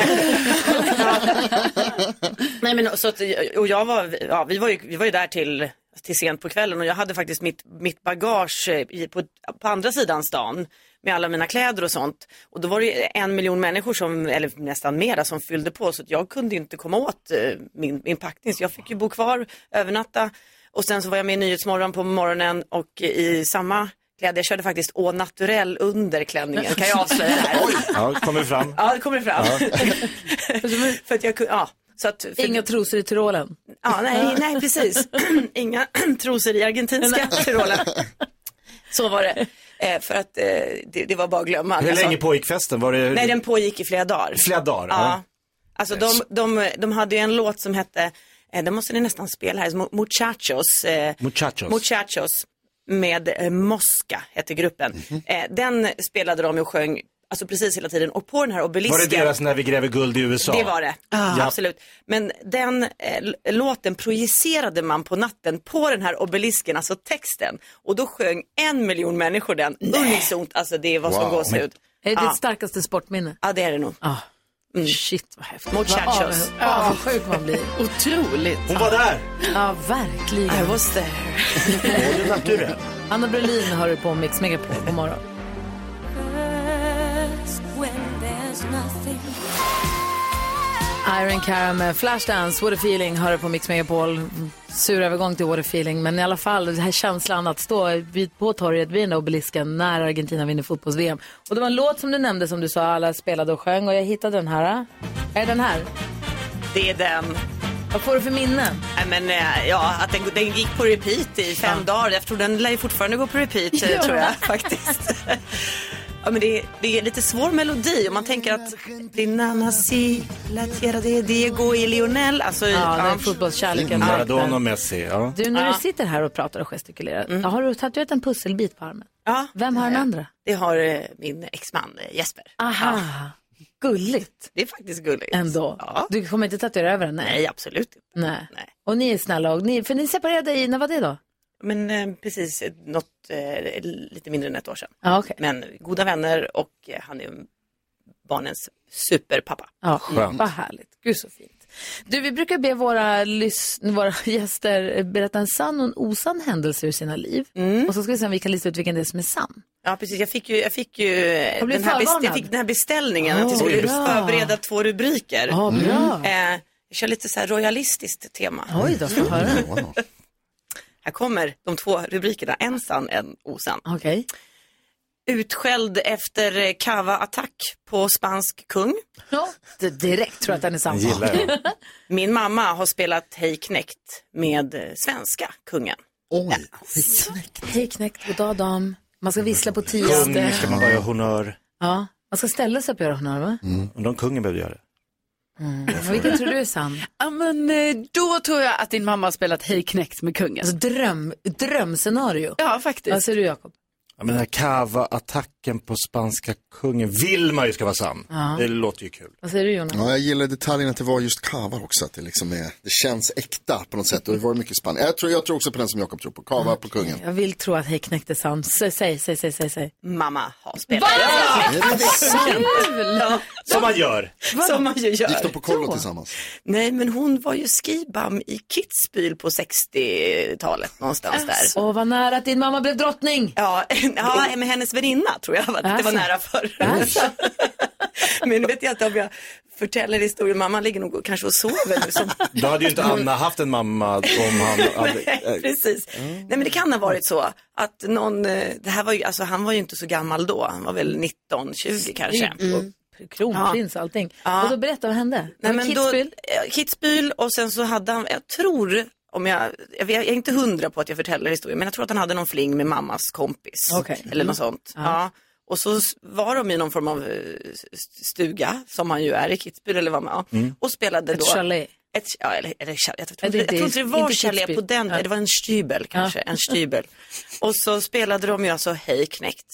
Speaker 12: här. Ja. Nej, men, så att, och jag var, ja, vi, var ju, vi var ju där till, till sent på kvällen och jag hade faktiskt mitt, mitt bagage eh, i, på, på andra sidan stan med alla mina kläder och sånt. Och då var det ju en miljon människor, som, eller nästan mera, som fyllde på så att jag kunde ju inte komma åt eh, min, min packning. Så jag fick ju bo kvar, övernatta och sen så var jag med i Nyhetsmorgon på morgonen och i samma kläder. Jag körde faktiskt Å naturell under klänningen, kan jag avslöja här.
Speaker 7: Ja, kommer fram.
Speaker 12: Ja, det kommer fram. för att jag kunde, ja. Så att, för,
Speaker 1: Inga trosor i Tyrolen.
Speaker 12: Ja, nej, nej precis. Inga trosor i argentinska Tyrolen. Så var det. Eh, för att eh, det, det var bara att glömma.
Speaker 7: Hur
Speaker 12: Alltså,
Speaker 7: länge pågick festen? Var det...
Speaker 12: Nej, den pågick i flera dagar.
Speaker 7: Flera dagar,
Speaker 12: Ja.
Speaker 7: ja.
Speaker 12: Alltså de, de, de hade ju en låt som hette, eh, den måste ni nästan spela här, Mo- Muchachos. Eh,
Speaker 7: Muchachos.
Speaker 12: Muchachos med eh, Mosca hette gruppen.
Speaker 7: Mhm.
Speaker 12: Eh, den spelade de och sjöng alltså precis hela tiden och på den här obelisken.
Speaker 7: Var det deras När vi gräver guld i USA?
Speaker 12: Det var det, Ah,
Speaker 7: Ja.
Speaker 12: absolut. Men den eh, l- låten projicerade man på natten på den här obelisken, alltså texten. Och då sjöng en miljon människor den unisont, alltså det var som
Speaker 1: Wow.
Speaker 12: gåshud.
Speaker 1: Är det
Speaker 12: Ja.
Speaker 1: ditt starkaste sportminne?
Speaker 12: Ja, det är det nog.
Speaker 1: Mm. Shit, vad häftigt.
Speaker 12: Muchachos.
Speaker 1: Vad av- Avundsjuk man blir.
Speaker 5: Otroligt.
Speaker 7: Hon var där.
Speaker 1: Ja, verkligen.
Speaker 12: I was there.
Speaker 1: Anna Brolin har du på Mix Megapol. God morgon. Iron Cara med Flashdance, What a feeling, hör du på Mix Megapol. Sur övergång till What a feeling, men i alla fall den här känslan att stå vid- på torget vid den där obelisken när Argentina vinner fotbolls-VM. Och det var en låt som du nämnde som du sa alla spelade och sjöng och jag hittade den här. Är den här?
Speaker 12: Det är den.
Speaker 1: Vad får du för minnen?
Speaker 12: Nej, men, eh, ja, att den, den gick på repeat i fem dagar. Jag tror den lär ju fortfarande gå på repeat, eh,
Speaker 6: Ja.
Speaker 12: tror jag faktiskt. ja, men det, är- det är lite svår melodi om man tänker att Dinana si, la tierra de Diego i Lionel. Alltså,
Speaker 1: Ja, den fotbollskärleken.
Speaker 7: Maradona och Messi, ja.
Speaker 1: Du, när
Speaker 12: Ja. Mm.
Speaker 1: du sitter här och pratar och gestikulerar, har du tatuerat en pusselbit på armen?
Speaker 12: Ja,
Speaker 1: Vem har den andra?
Speaker 12: Det har eh, min exman eh, Jesper.
Speaker 1: Aha, gulligt.
Speaker 12: Det är faktiskt gulligt.
Speaker 1: Ändå. Du kommer inte tatuera över den? Nej,
Speaker 12: absolut inte.
Speaker 1: Nej. Och ni är snälla, och ni, för ni separerade i, när var det då?
Speaker 12: Men eh, precis, eh, något, eh, lite mindre än ett år sedan.
Speaker 1: Ja, okej.
Speaker 12: Men goda vänner och eh, han är barnens superpappa.
Speaker 1: Ja, Vad härligt. Gud så fint. Du, vi brukar be våra, lys- våra gäster berätta en sann och en osann händelse ur sina liv.
Speaker 12: Mm.
Speaker 1: Och så ska vi se om vi kan lista ut vilken det är som är sann.
Speaker 12: Ja, precis. Jag fick ju, jag fick ju eh,
Speaker 1: Har blivit
Speaker 12: den, här best-
Speaker 1: förvarnad.
Speaker 12: jag fick den här beställningen
Speaker 1: Åh,
Speaker 12: att jag skulle
Speaker 1: bra.
Speaker 12: förbereda två rubriker.
Speaker 1: Ja, bra.
Speaker 12: Eh, jag kör lite så här royalistiskt tema. Mm.
Speaker 1: Oj då, får jag höra.
Speaker 12: Här kommer de två rubrikerna, en sann, en osann.
Speaker 1: Okej.
Speaker 12: Utskälld efter eh, cava-attack på spansk kung.
Speaker 1: Ja, d- direkt tror jag att den är sann.
Speaker 12: Jag gillar Min mamma har spelat Hej knekt med eh, svenska kungen.
Speaker 3: Oj,
Speaker 1: Hej knäckt, goddag dam. Man ska vissla på
Speaker 7: Kung
Speaker 1: tionde.
Speaker 7: ska man bara göra honnör.
Speaker 1: Ja, man ska ställa sig upp och göra honnör, va?
Speaker 7: Undrar om kungen behövde göra det.
Speaker 1: Mm. Vilken tror du är sann?
Speaker 5: Ja, men eh, då tror jag att din mamma har spelat Hej knekt med kungen.
Speaker 1: Alltså dröm, drömscenario.
Speaker 5: Ja, faktiskt.
Speaker 1: Vad säger du, Jakob?
Speaker 7: Ja, men den här Cava-attacken på spanska kungen vill man ju ska vara sann.
Speaker 1: Ja.
Speaker 7: Det låter ju kul.
Speaker 1: Vad säger du Jonas?
Speaker 3: Ja, jag gillar detaljen att det var just kava också, att det liksom är, det känns äkta på något sätt. Och det var mycket spännande. Jag tror, jag tror också på den som Jakob tror på, kava på kungen.
Speaker 1: Jag vill tro att Hej knäckte Sam. Säg, säg, säg, säg, säg, säg.
Speaker 12: Mamma har spelat.
Speaker 3: Är det det?
Speaker 12: Kul!
Speaker 7: Som man gör.
Speaker 12: Alltså, Som man ju gör.
Speaker 3: Gick de på kollo tillsammans?
Speaker 12: Nej, men hon var ju skibam i Kitzbühel på 60-talet någonstans där.
Speaker 1: Åh, vad nära att din mamma blev drottning.
Speaker 12: Ja, ja men hennes väninna tror jag var, det var
Speaker 1: Alltså.
Speaker 12: nära för. men vet jag inte om jag förtäller historien, mamma ligger nog och- kanske och sover nu. Som... Mm.
Speaker 7: Då hade ju inte Anna haft en mamma om han hade... eh.
Speaker 12: Nej, precis. Nej men det kan ha varit så att någon, eh, det här var ju, alltså han var ju inte så gammal då, han var väl 19, 20 kanske.
Speaker 1: Mm. Kronprins och allting.
Speaker 12: Ja.
Speaker 1: Och då berätta, vad hände?
Speaker 12: Nej,
Speaker 1: Det var
Speaker 12: men då,
Speaker 1: Kitzbühel.
Speaker 12: eh, Kitzbühel och sen så hade han, jag tror, om jag, jag, vet- jag är inte hundra på att jag förtäller historien, men jag tror att han hade någon fling med mammas kompis.
Speaker 1: Okej. Mm.
Speaker 12: Eller något sånt.
Speaker 1: Ja.
Speaker 12: Ja. Och så s- var de i någon form av eh, st- stuga, som han ju är i Kitzbühel eller vad man, ja. Och spelade
Speaker 1: Ett
Speaker 12: då.
Speaker 1: chalet.
Speaker 12: Ett, ja, eller, eller chalet. Jag tror
Speaker 1: Ja,
Speaker 12: inte
Speaker 1: det-
Speaker 12: jag
Speaker 1: det-
Speaker 12: tror inte det var
Speaker 1: inte
Speaker 12: chalet på
Speaker 1: Kitzbühel.
Speaker 12: den,
Speaker 1: Ja.
Speaker 12: det var en stybel kanske, en stybel. Och så spelade de ju alltså Hej knekt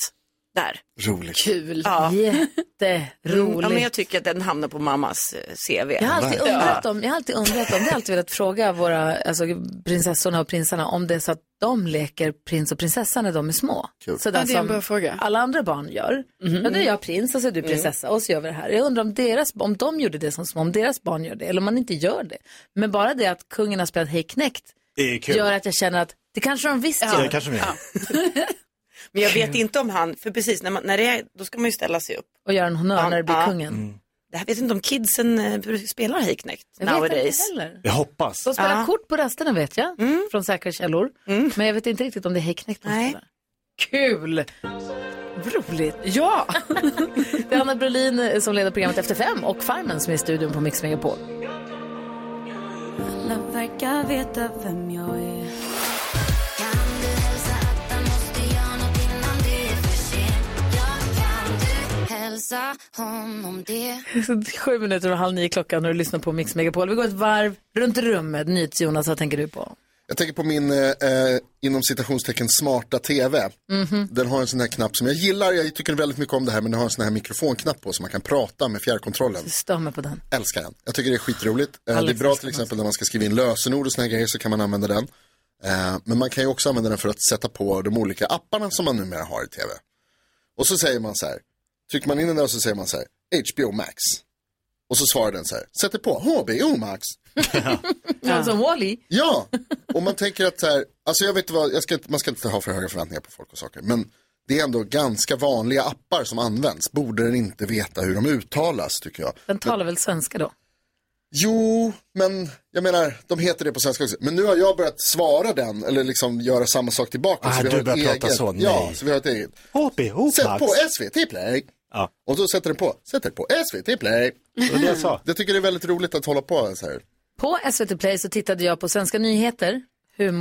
Speaker 12: där.
Speaker 3: Roligt.
Speaker 1: Kul.
Speaker 12: Ja.
Speaker 1: Jätteroligt.
Speaker 12: Ja, men jag tycker att den hamnar på mammas eh, CV.
Speaker 1: Jag har alltid
Speaker 12: Ja.
Speaker 1: undrat om, jag har alltid undrat om, jag har alltid velat fråga våra alltså, prinsessorna och prinsarna om det är så att de leker prins och prinsessa när de är små.
Speaker 5: Kul.
Speaker 1: Sådär
Speaker 5: Ja, det är en bra fråga.
Speaker 1: alla andra barn gör.
Speaker 5: Mhm.
Speaker 12: Mhm.
Speaker 1: Ja, nu är jag prins och så är
Speaker 12: Mm.
Speaker 1: du prinsessa och så gör vi det här. Jag undrar om, deras, om de gjorde det som små, om deras barn gör det eller om man inte gör det. Men bara det att kungen har spelat Hej knekt
Speaker 7: Det är kul.
Speaker 1: gör att jag känner att det kanske de visst
Speaker 12: Ja,
Speaker 1: gör.
Speaker 12: det kanske de gör. Men jag vet inte om han, för precis när, man, när det är, då ska man ju ställa sig upp.
Speaker 1: Och göra en honnör när det blir
Speaker 12: Ja.
Speaker 1: kungen.
Speaker 12: Det här vet inte om kidsen eh, spelar hejknekt
Speaker 1: Jag vet inte
Speaker 12: nowadays.
Speaker 1: heller.
Speaker 7: Jag hoppas.
Speaker 1: De spelar
Speaker 12: Ja. Mm.
Speaker 1: kort på rasterna vet jag, från säkra källor. Men jag vet inte riktigt om det är Häckknekt de spelar. Kul! Roligt. Ja! det är Anna Brolin eh, som leder programmet Efter fem och Farmen som är i studion på Mix Megapol.
Speaker 13: Alla verkar veta vem jag är.
Speaker 6: Hälsa honom det.
Speaker 1: Sju minuter och halv nio klockan när du lyssnar på Mix Megapol. Vi går ett varv runt rummet. NyhetsJonas, vad tänker du på?
Speaker 3: Jag tänker på min, eh, eh, inom citationstecken, smarta tv.
Speaker 1: Mhm.
Speaker 3: Den har en sån här knapp som jag gillar, jag tycker väldigt mycket om det här, men den har en sån här mikrofonknapp på som man kan prata med fjärrkontrollen.
Speaker 1: Stör mig på den.
Speaker 3: Älskar den. Jag tycker det är skitroligt. Eh, det är
Speaker 1: Alex
Speaker 3: bra till exempel när man ska skriva in lösenord och såna här grejer så kan man använda den. Eh, men man kan ju också använda den för att sätta på de olika apparna som man numera har i tv. Och så säger man så här, trycker man in den där och så säger man så här, HBO Max. Och så svarar den så här, sätter på HBO Max.
Speaker 1: Ja. Som Wally.
Speaker 3: Ja, och man tänker att så här, alltså jag vet inte vad, jag ska, inte- man ska inte ha för höga förväntningar på folk och saker, men det är ändå ganska vanliga appar som används. Borde den inte veta hur de uttalas tycker jag.
Speaker 1: Den talar väl svenska då?
Speaker 3: Jo, men jag menar, de heter det på svenska också. Men nu har jag börjat svara den, eller liksom göra samma sak tillbaka.
Speaker 7: Ah,
Speaker 3: vi
Speaker 7: du
Speaker 3: har ett
Speaker 7: börjar prata så, nej.
Speaker 3: Ja, så vi har ett eget.
Speaker 7: HBO
Speaker 3: Sätt på
Speaker 7: Max.
Speaker 3: SVT Play. Och då sätter den på, sätter på SVT Play.
Speaker 1: Det var det jag
Speaker 7: sa.
Speaker 3: Jag tycker det är väldigt roligt att hålla på så här.
Speaker 1: På SVT Play så tittade jag på Svenska nyheter,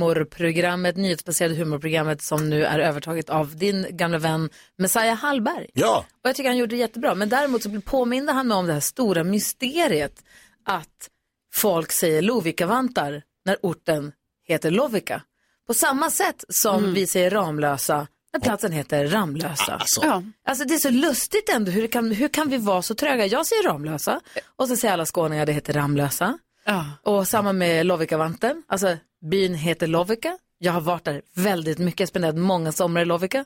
Speaker 1: humorprogrammet, nyhetsbaserade humorprogrammet som nu är övertaget av din gamla vän Messiah Hallberg.
Speaker 7: Ja.
Speaker 1: Och jag tycker han gjorde det jättebra, men däremot så påminde han mig om det här stora mysteriet att folk säger Lovikkavantar när orten heter Lovika. På samma sätt som vi säger Ramlösa när platsen heter Ramlösa. Alltså.
Speaker 5: Ja.
Speaker 1: Alltså det är så lustigt ändå, hur kan, hur kan vi vara så tröga? Jag säger Ramlösa och så säger alla skåningar det heter Ramlösa. Och samma med Lovikkavanten, alltså byn heter Lovika. Jag har varit där väldigt mycket, jag spenderat många somrar i Lovika.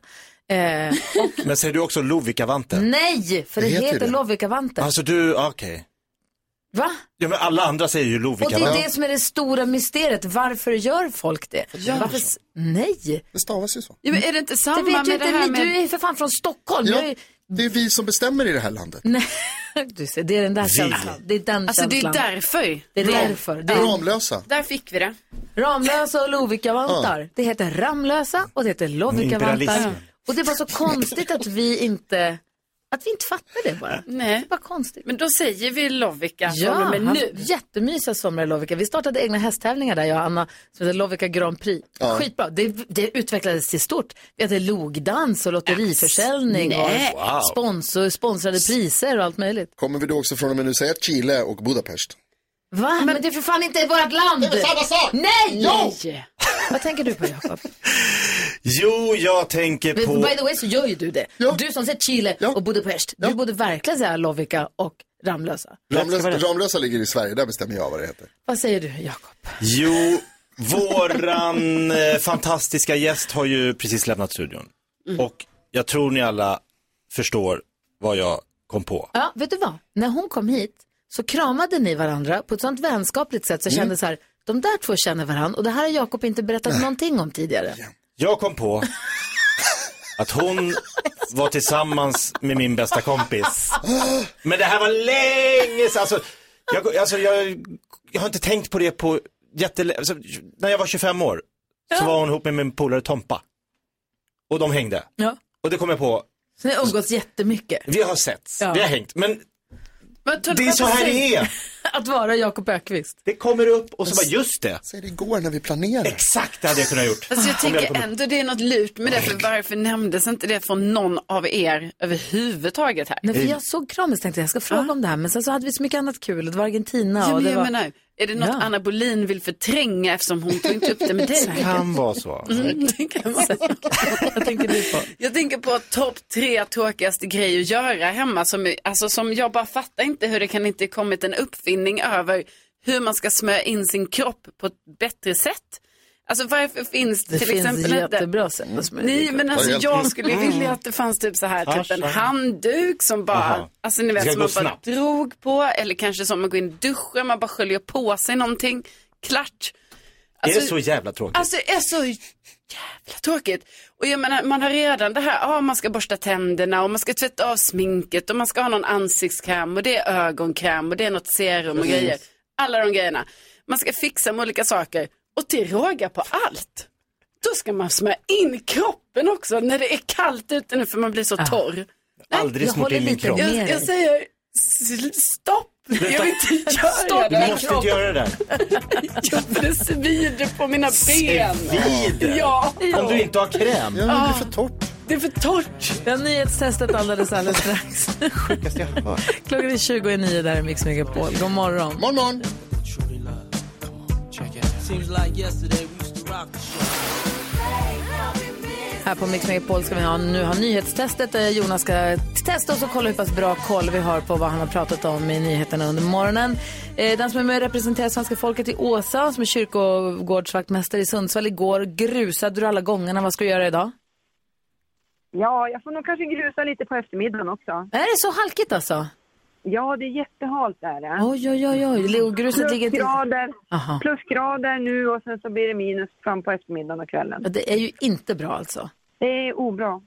Speaker 1: Eh, och
Speaker 7: Men säger du också Lovikkavanten?
Speaker 1: nej, för det,
Speaker 7: Det heter ju
Speaker 1: heter
Speaker 7: det.
Speaker 1: Lovikkavanten.
Speaker 7: Alltså du, ah, okej.
Speaker 1: Va?
Speaker 7: Ja men alla andra säger ju
Speaker 1: Och det är
Speaker 7: Lovikkavanten.
Speaker 1: det som är det stora mysteriet, varför gör folk det?
Speaker 5: Ja.
Speaker 1: Varför? s- Nej.
Speaker 3: Det stavas ju så.
Speaker 5: Jo, men är det inte samma
Speaker 1: vet
Speaker 5: med
Speaker 1: inte,
Speaker 5: det här
Speaker 1: ni-
Speaker 5: med...
Speaker 1: Du är ju för fan från Stockholm. Jag
Speaker 3: Ja,
Speaker 1: är-
Speaker 3: det är vi som bestämmer i det här landet.
Speaker 1: Du ser, det är den där
Speaker 3: Vi.
Speaker 1: känslan. Det är den
Speaker 5: Alltså det är
Speaker 1: känslan.
Speaker 5: därför.
Speaker 1: Det är därför. Det är-
Speaker 3: Ramlösa.
Speaker 5: Där fick vi det.
Speaker 1: Ramlösa och Lovikkavantar.
Speaker 5: Ja.
Speaker 1: Det heter Ramlösa och det heter Lovikkavantar.
Speaker 5: Imperialismen.
Speaker 1: Och det var så konstigt att vi inte, att vi inte fattar det bara.
Speaker 5: Nej.
Speaker 1: Vad konstigt.
Speaker 5: Men då säger vi Lovika
Speaker 1: Ja,
Speaker 5: från och med
Speaker 1: han-
Speaker 5: nu.
Speaker 1: jättemysiga somrar i Lovika. Vi startade egna hästtävlingar där, jag och Anna, som heter Lovika Grand Prix.
Speaker 5: Ja.
Speaker 1: Skitbra. Det, det utvecklades till stort. Vi hade logdans och lotteriförsäljning
Speaker 3: Nej.
Speaker 1: och
Speaker 3: Wow.
Speaker 1: sponsor, sponsrade priser och allt möjligt.
Speaker 3: Kommer vi då också från och med nu säga Chile och Budapest?
Speaker 1: Va? Men, det är för fan inte vårt land!
Speaker 6: Det är väl samma sak?
Speaker 1: Nej!
Speaker 6: Jo!
Speaker 1: Vad tänker du på Jakob?
Speaker 7: Jo, jag tänker
Speaker 1: Men
Speaker 7: på...
Speaker 1: By the way så gör ju du det. Du som ser Chile och Budapest. Du borde verkligen säga Lovica och Ramlösa.
Speaker 3: Ramlösa, Ramlösa ligger i Sverige, där bestämmer jag vad det heter.
Speaker 1: Vad säger du Jakob?
Speaker 7: Jo, våran eh, fantastiska gäst har ju precis lämnat studion.
Speaker 1: Mm.
Speaker 7: Och jag tror ni alla förstår vad jag kom på.
Speaker 1: Ja, vet du vad? När hon kom hit så kramade ni varandra på ett sånt vänskapligt sätt så jag
Speaker 7: Mm.
Speaker 1: kände så här, de där två känner varandra och det här har Jakob inte berättat någonting om tidigare.
Speaker 7: Jag kom på att hon var tillsammans med min bästa kompis. Men det här var länge sedan. Alltså, jag, alltså, jag, jag har inte tänkt på det på jättelänge. Alltså, när jag var 25 år så var hon ihop med min polare Tompa. Och de hängde.
Speaker 1: Ja.
Speaker 7: Och det kom jag på.
Speaker 1: Så ni har umgåtts jättemycket.
Speaker 7: Vi har sett,
Speaker 1: Ja.
Speaker 7: vi har hängt. Men
Speaker 1: Men,
Speaker 7: Det är så här det är.
Speaker 1: Att vara Jakob Ökvist.
Speaker 7: det kommer upp och så bara just det.
Speaker 3: Säg det igår när vi planerade.
Speaker 7: Exakt det hade jag kunnat gjort.
Speaker 5: Alltså jag
Speaker 7: Om hade
Speaker 5: tänker
Speaker 7: kommit-
Speaker 5: ändå det är något lurt med det, för varför nämndes inte det från någon av er överhuvudtaget här?
Speaker 1: Nej, för
Speaker 7: Eh.
Speaker 1: jag såg kramis och tänkte jag ska fråga om det här men sen så hade vi så mycket annat kul och det var Argentina
Speaker 5: Ja,
Speaker 1: och
Speaker 5: men
Speaker 1: det
Speaker 5: jag
Speaker 1: var...
Speaker 5: menar, är det något
Speaker 1: Ja.
Speaker 5: Anna Bolin vill förtränga eftersom hon tog inte upp det med dig?
Speaker 7: Det kan vara så.
Speaker 5: Mm, det kan man säga. Jag tänker på topp tre tråkigaste grejer att göra hemma som, är- alltså, som jag bara fattar inte hur det kan inte kommit en uppfinning över hur man ska smörja in sin kropp på ett bättre sätt. Alltså varför finns det
Speaker 1: Det
Speaker 5: till
Speaker 1: finns
Speaker 5: exempel
Speaker 1: jättebra sätt att smörja
Speaker 5: Nej
Speaker 1: kroppen.
Speaker 5: men alltså
Speaker 1: Ja, helt-
Speaker 5: jag skulle
Speaker 1: Mm.
Speaker 5: vilja att det fanns typ så här, typ en
Speaker 1: Tarzan.
Speaker 5: handduk som bara,
Speaker 1: Aha.
Speaker 5: alltså ni
Speaker 1: Det
Speaker 5: vet
Speaker 1: ska
Speaker 5: som
Speaker 1: gå
Speaker 5: man bara
Speaker 1: snabbt.
Speaker 5: drog på eller kanske som man går in i duschen, man bara sköljer på sig någonting, klart.
Speaker 7: Det är
Speaker 5: Alltså-
Speaker 7: så jävla tråkigt.
Speaker 5: Alltså det är så jävla tråkigt. Och jag menar, man har redan det här, ja man ska borsta tänderna och man ska tvätta av sminket och man ska ha någon ansiktskräm och det är ögonkräm och det är något serum och
Speaker 1: Precis.
Speaker 5: grejer. Alla de grejerna. Man ska fixa med olika saker och till råga på allt. Då ska man smörja in kroppen också när det är kallt ute nu för man blir så torr.
Speaker 7: Aldrig Ah. jag smort håller in min lite kropp. med
Speaker 5: Jag, jag
Speaker 7: dig.
Speaker 5: säger s- stopp. Jag vill inte göra
Speaker 7: Stopp,
Speaker 5: det.
Speaker 7: du måste inte göra det där.
Speaker 5: Jo, för det svider på mina ben.
Speaker 7: Svider?
Speaker 5: Ja.
Speaker 7: Om du inte har kräm?
Speaker 1: Ja, det blir
Speaker 5: för
Speaker 3: torrt.
Speaker 5: Det är för torrt.
Speaker 1: Ja, nyhetstestet alldeles alldeles strax. Klockan är 20 och 9 där i Mix Megapol. God morgon.
Speaker 3: Morgon, morgon.
Speaker 1: Här på Mix Megapol ska vi ha, nu ha nyhetstestet där Jonas ska testa oss och kolla hur pass bra koll vi har på vad han har pratat om i nyheterna under morgonen. Eh, Den som är med och representerar svenska folket i Åsa som är kyrkogårdsvaktmästare i Sundsvall igår. Grusade du alla gångerna? Vad ska du göra idag?
Speaker 9: Ja, jag får nog kanske grusa lite på eftermiddagen också.
Speaker 1: Är det så halkigt alltså?
Speaker 9: Ja, det är jättehalt är det.
Speaker 1: Oj, oj, oj, oj. Leo, gruset ligger inte-
Speaker 9: Plusgrader,
Speaker 1: Aha.
Speaker 9: plusgrader nu och sen så blir det minus fram på eftermiddagen och kvällen.
Speaker 1: Ja, Det är ju inte bra alltså.
Speaker 9: Det är obra.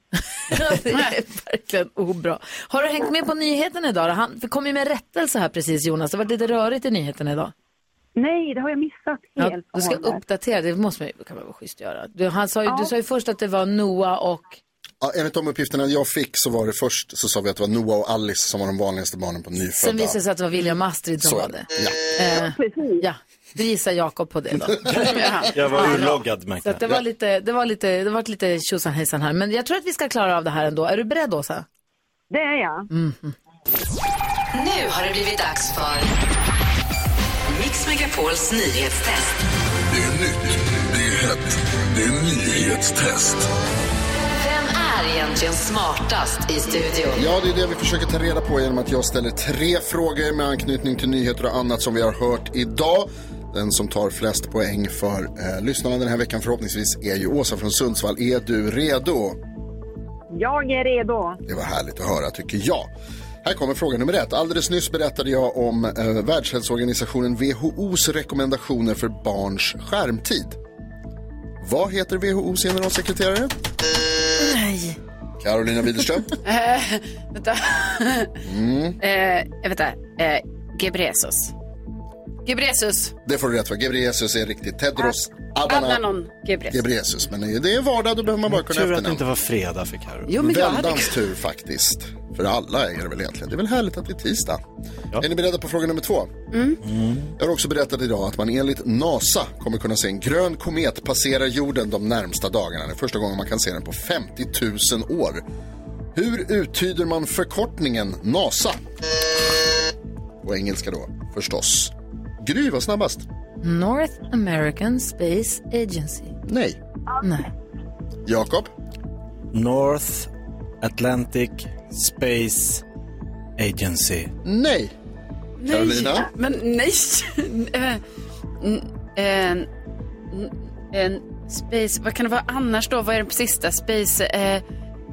Speaker 1: det är verkligen obra. Har du hängt med på nyheterna idag? då? Han vi kom ju med rättelse här precis Jonas. Det har varit lite rörigt i nyheterna idag.
Speaker 9: Nej, det har jag missat
Speaker 1: Ja,
Speaker 9: helt
Speaker 1: du ska
Speaker 9: och hållet.
Speaker 1: uppdatera, det måste man ju, kan man vara schysst att göra. Du, han sa ju,
Speaker 9: Ja.
Speaker 1: du sa ju först att det var Noah och,
Speaker 3: Ja, enligt de uppgifterna jag fick så var det först så sa vi att det var Noah och Alice som var de vanligaste barnen på nyfödda.
Speaker 1: sen visade det sig att det var William och Astrid som
Speaker 3: Så är
Speaker 1: var
Speaker 3: det.
Speaker 1: det.
Speaker 3: Ja.
Speaker 1: Eh, ja, du gissar Jakob på det då.
Speaker 7: Jag var
Speaker 1: Ja.
Speaker 7: urloggad
Speaker 1: Så
Speaker 7: märkte
Speaker 1: att det
Speaker 7: jag.
Speaker 1: var lite, det var lite, det var lite tjosan hejsan här. Men jag tror att vi ska klara av det här ändå. Är du beredd Åsa? Mm.
Speaker 9: Det är jag.
Speaker 2: Nu har det blivit dags för Mix Megapols nyhetstest.
Speaker 14: Det är nytt, det är hett, det är nyhetstest.
Speaker 2: Vem är egentligen smartast i studion?
Speaker 3: Ja, det är det vi försöker ta reda på genom att jag ställer tre frågor med anknytning till nyheter och annat som vi har hört idag. Den som tar flest poäng för eh, lyssnarna den här veckan förhoppningsvis är ju Åsa från Sundsvall. Är du redo?
Speaker 9: Jag är redo.
Speaker 3: Det var härligt att höra tycker jag. Här kommer fråga nummer ett. Alldeles nyss berättade jag om eh, Världshälsoorganisationen WHOs rekommendationer för barns skärmtid. Vad heter WHOs generalsekreterare?
Speaker 5: Nej.
Speaker 3: Carolina Widerström.
Speaker 5: Eh, vänta.
Speaker 3: Mm.
Speaker 5: Eh, vänta. Eh, Gebresus. Gebresus.
Speaker 3: Det får du rätt för. Gebreyesus är riktigt. Tedros Adhanom
Speaker 5: Adhanom Gebresus.
Speaker 3: Gebreyesus. Men nej, det är vardag, då behöver man bara kunna
Speaker 7: Tur att det
Speaker 3: efternamn.
Speaker 7: inte var fredag för Carro.
Speaker 5: Jo, men jag hade-
Speaker 3: Väldans tur faktiskt. För alla är det väl egentligen. Det är väl härligt att det är tisdag. Är ni beredda på fråga nummer två?
Speaker 13: Mm.
Speaker 3: Jag har också berättat idag att man enligt NASA kommer kunna se en grön komet passera jorden de närmsta dagarna. Det är första gången man kan se den på 50 000 år. Hur uttyder man förkortningen NASA? På engelska då, förstås. Gry var snabbast.
Speaker 1: North American Space Agency.
Speaker 3: Nej.
Speaker 1: Nej.
Speaker 3: Jakob?
Speaker 7: North Atlantic Space Agency.
Speaker 3: Nej.
Speaker 7: Carolina?
Speaker 5: Men nej. Eh, n- eh, n- en space, vad kan det vara annars då? Vad är det sista? Space eh,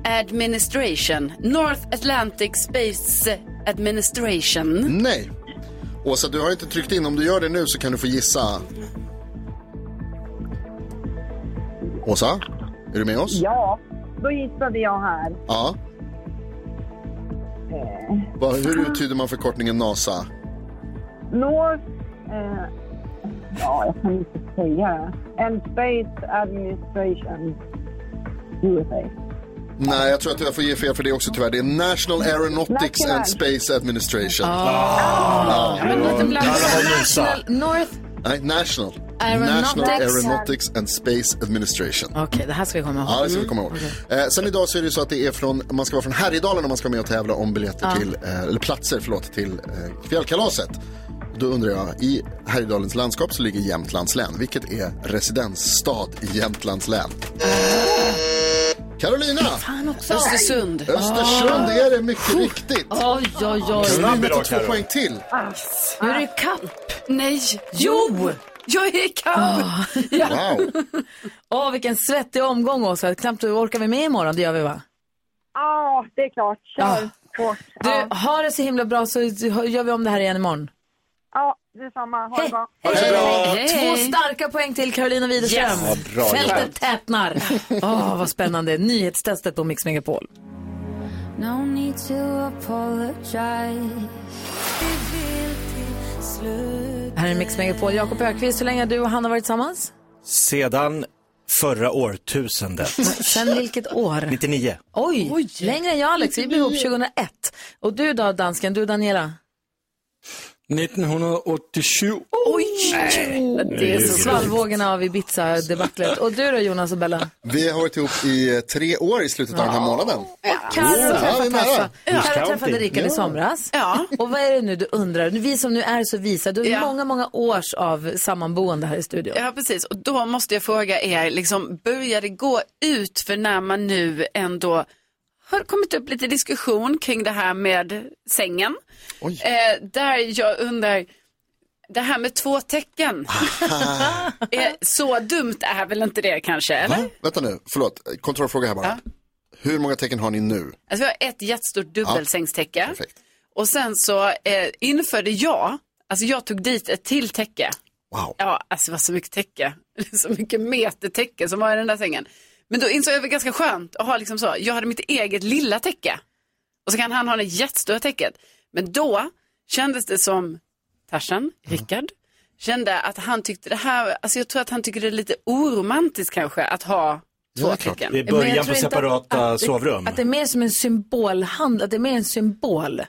Speaker 5: Administration. North Atlantic Space Administration.
Speaker 3: Nej. Åsa, du har inte tryckt in. Om du gör det nu så kan du få gissa. Åsa, är du med oss?
Speaker 9: Ja, då gissade jag här. Eh,
Speaker 3: Ja. Vad- Hur uttyder man förkortningen NASA?
Speaker 9: North... Eh, ja, jag kan inte säga. And Space Administration USA.
Speaker 3: Nej, jag tror att jag får ge fel för det också tyvärr. Det är National Aeronautics and Space Administration. Ah. Ja.
Speaker 1: Ah. Men lite blandat. National North
Speaker 3: Nej, National.
Speaker 1: Aeronautics.
Speaker 3: National Aeronautics and Space Administration.
Speaker 1: Okej, det här ska vi komma ihåg. Mm,
Speaker 3: Ja, det ska vi komma ihåg. Eh, sen idag så är det ju så att det är från, man ska vara från Härjedalen om man ska vara med och tävla om biljetter
Speaker 1: Ja.
Speaker 3: till, eh, eller platser, förlåt, till eh, fjällkalaset. Då undrar jag, i Härjedalens landskap så ligger Jämtlands län. Vilket är residensstad i Jämtlands län? Carolina!
Speaker 5: Östersund.
Speaker 3: Östersund är det mycket riktigt.
Speaker 1: Oj, oj, oj.
Speaker 3: Carolina tar två poäng till.
Speaker 5: Nu är det kapp. Alltså. Nej. Jo! Ah. Jag är i kapp.
Speaker 3: Wow.
Speaker 1: Åh, vilken svettig omgång, Åsa. Knappt orkar vi med imorgon, det gör vi va?
Speaker 9: Ja, det är klart. Kör
Speaker 1: Ja.
Speaker 9: hårt.
Speaker 1: Du, ha det så himla bra så gör vi om det här igen imorgon.
Speaker 9: Ja, detsamma. Ha det bra.
Speaker 1: Hej. Två starka poäng till Carolina Widerström.
Speaker 9: Yes. Ja, bra
Speaker 1: Fältet
Speaker 9: jobbat.
Speaker 1: tätnar. Åh, vad spännande. Nyhetstestet på Mix Megapol.
Speaker 13: No need to apologize. Det vill till slut.
Speaker 1: Här är Mix Megapol. Jakob Ökvist, hur länge har du och Hanna varit tillsammans?
Speaker 7: Sedan förra årtusendet.
Speaker 1: Sen vilket år?
Speaker 7: 99.
Speaker 1: Oj, längre än jag Alex. Vi blev ihop 2001. Och du då, dansken? Du, Daniela?
Speaker 4: 1987.
Speaker 1: Oj!
Speaker 4: Nej.
Speaker 1: Det är så svallvågorna av Ibiza-debaclet. Och du då, Jonas och Bella?
Speaker 3: Vi har varit ihop i eh, tre år i slutet av den här månaden.
Speaker 1: Carro
Speaker 3: Ja,
Speaker 1: träffade
Speaker 3: vi är nära.
Speaker 1: Taffa.
Speaker 3: Who's
Speaker 1: Carro träffade
Speaker 3: counting?
Speaker 1: Rickard i
Speaker 3: Ja.
Speaker 1: somras. Och vad är det nu du undrar? Vi som nu är så visa, du har många, många års av sammanboende här i studion.
Speaker 5: Ja, precis. Och då måste jag fråga er, liksom, börjar det gå ut för när man nu ändå har det kommit upp lite diskussion kring det här med sängen? Eh, där jag undrar, det här med två tecken, eh, så dumt är väl inte det kanske? Eller?
Speaker 3: Vänta nu, förlåt. Kontrollfråga här bara. Hur många tecken har ni nu?
Speaker 5: Alltså, vi har ett jättestort dubbelsängstäcke
Speaker 3: Perfekt.
Speaker 5: och sen så eh, införde jag, alltså jag tog dit ett till täcke.
Speaker 3: Wow.
Speaker 5: Ja, alltså det var så mycket täcke. Så mycket meter täcke som var i den där sängen. Men då insåg jag att det var ganska skönt att ha liksom så. Jag hade mitt eget lilla täcke. Och så kan han ha det jättestora täcket. Men då kändes det som Tarzan, Rickard, kände att han tyckte det här, alltså jag tror att han tyckte det är lite oromantiskt kanske att ha två täcken.
Speaker 7: Det är början
Speaker 1: Men jag tror
Speaker 7: på
Speaker 1: inte
Speaker 7: separata
Speaker 1: det-
Speaker 7: sovrum.
Speaker 1: Att det är mer som en symbolhand, att det är mer en symbol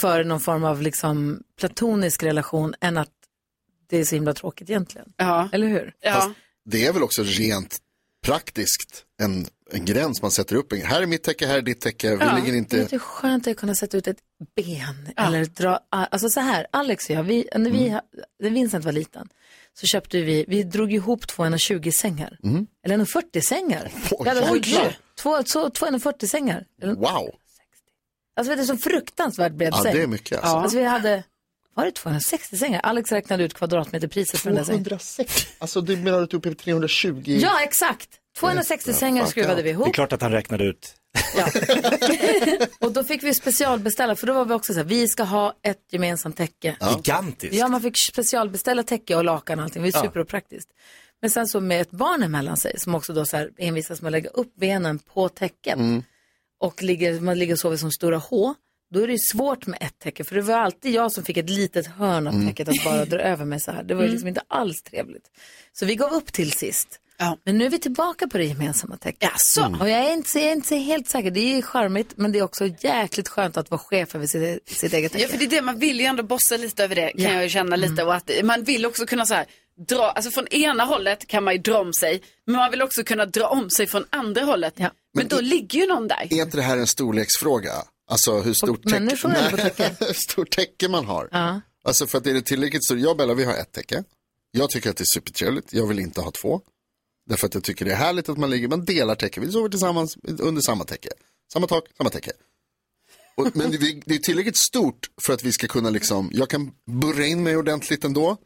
Speaker 1: för någon form av liksom platonisk relation än att det är så himla tråkigt egentligen. Eller hur?
Speaker 3: Fast det är väl också rent praktiskt en, en gräns man sätter upp. Här är mitt täcke, här är ditt täcke. Vi ligger
Speaker 1: Det är
Speaker 3: inte...
Speaker 1: lite skönt att kunna sätta ut ett ben. Eller dra, alltså så här, Alex och jag, vi, när,
Speaker 3: Mm.
Speaker 1: vi, när Vincent var liten så köpte vi, vi drog ihop två 120-sängar.
Speaker 3: Mm.
Speaker 1: Eller 140-sängar.
Speaker 3: Oj,
Speaker 1: Vi hade
Speaker 3: jäklar.
Speaker 1: sju- två, två, två 140-sängar. Eller-
Speaker 3: Wow!
Speaker 1: Alltså vet du, så fruktansvärt bred
Speaker 3: Ja,
Speaker 1: säng.
Speaker 3: det är mycket, alltså.
Speaker 1: Alltså. vi hade, var det 260 sängar? Alex räknade ut kvadratmeterpriset för den där sängen.
Speaker 3: 260? Alltså du menar att du är uppe i 320?
Speaker 1: Ja, exakt. 260 sängar skruvade vi
Speaker 7: Det är
Speaker 1: ihop.
Speaker 7: klart att han räknade ut.
Speaker 1: Och då fick vi specialbeställa, för då var vi också så här, vi ska ha ett gemensamt täcke.
Speaker 7: Gigantiskt.
Speaker 1: Ja, man fick specialbeställa täcke och lakan och allting. Det var
Speaker 7: Ja.
Speaker 1: ju superpraktiskt. Men sen så med ett barn emellan sig som också då så här envisas med att lägga upp benen på täcket
Speaker 7: Mm.
Speaker 1: och ligger, man ligger och sover som stora H. Då är det ju svårt med ett täcke för det var alltid jag som fick ett litet hörn av
Speaker 5: Mm.
Speaker 1: täcket att bara dra över mig så här. Det var ju liksom inte alls trevligt. Så vi gav upp till sist. Men nu är vi tillbaka på det gemensamma täcket.
Speaker 5: Jaså? Mm.
Speaker 1: Och jag är, inte, jag är inte helt säker, det är ju charmigt men det är också jäkligt skönt att vara chef över sitt, sitt eget täcke.
Speaker 5: Ja, för det är det, man vill ju ändå bossa lite över det, kan
Speaker 1: Ja.
Speaker 5: jag ju känna lite. Och att man vill också kunna så här, dra, alltså från ena hållet kan man ju dra om sig, men man vill också kunna dra om sig från andra hållet. Men, då ligger ju någon där.
Speaker 3: Är inte det här en storleksfråga? Alltså hur stort
Speaker 5: människor eller på
Speaker 3: täcke, hur stort täcke man har? Alltså för att är det tillräckligt stort? Jag och Bella, vi har ett täcke. Jag tycker att det är supertrevligt. Jag vill inte ha två. Därför att jag tycker det är härligt att man ligger, man delar täcke. Vi sover tillsammans under samma täcke. Samma tak, samma täcke. Och, men det, vi- det är tillräckligt stort för att vi ska kunna liksom, jag kan burra in mig ordentligt ändå.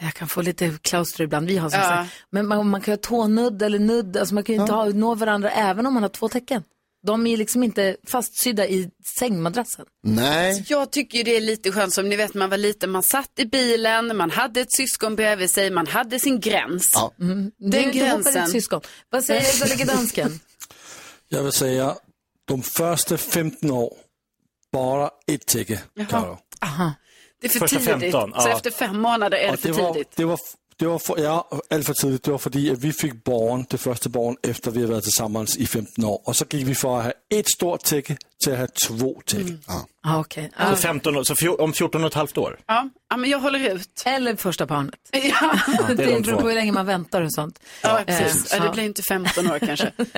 Speaker 1: Jag kan få lite klauster ibland. Vi har som
Speaker 5: Ja.
Speaker 1: sagt. Men man, man kan ju ha tånudd eller nudd. Alltså man kan ju inte ha, nå varandra även om man har två tecken. De är liksom inte fastsydda i sängmadrassen.
Speaker 3: Nej.
Speaker 5: Alltså, Jag tycker ju det är lite skönt som ni vet man var liten, man satt i bilen, man hade ett syskon bredvid sig, man hade sin gräns.
Speaker 3: Ja.
Speaker 5: Mm.
Speaker 1: Du är
Speaker 5: Den
Speaker 1: inte ihop med ditt
Speaker 5: gränsen.
Speaker 1: syskon. Vad säger gullige dansken?
Speaker 4: Jag vill säga, de första 15 år, bara ett täcke, Karo.
Speaker 5: Det är för
Speaker 4: Första
Speaker 5: tidigt.
Speaker 4: 15,
Speaker 5: Så
Speaker 4: ja.
Speaker 5: efter fem månader är det
Speaker 4: Och
Speaker 5: för
Speaker 4: var,
Speaker 5: tidigt.
Speaker 4: Det var, det var för, ja, allt för tidigt. Det var för att vi fick barn, det första barn efter vi hade varit tillsammans i 15 år. Och så gick vi från att ha ett stort täcke till att ha två täcke.
Speaker 1: Ah, okay.
Speaker 7: Så, 15, år- så fjor- om 14 och ett halvt år.
Speaker 5: Ja. ja, men jag håller ut.
Speaker 1: Eller första barnet.
Speaker 5: Ja,
Speaker 1: det
Speaker 7: det är de
Speaker 1: beror på
Speaker 7: två.
Speaker 1: hur länge man väntar och sånt.
Speaker 5: ja precis.
Speaker 1: Eh,
Speaker 5: Ja,
Speaker 1: så-
Speaker 5: det blir inte 15 år kanske.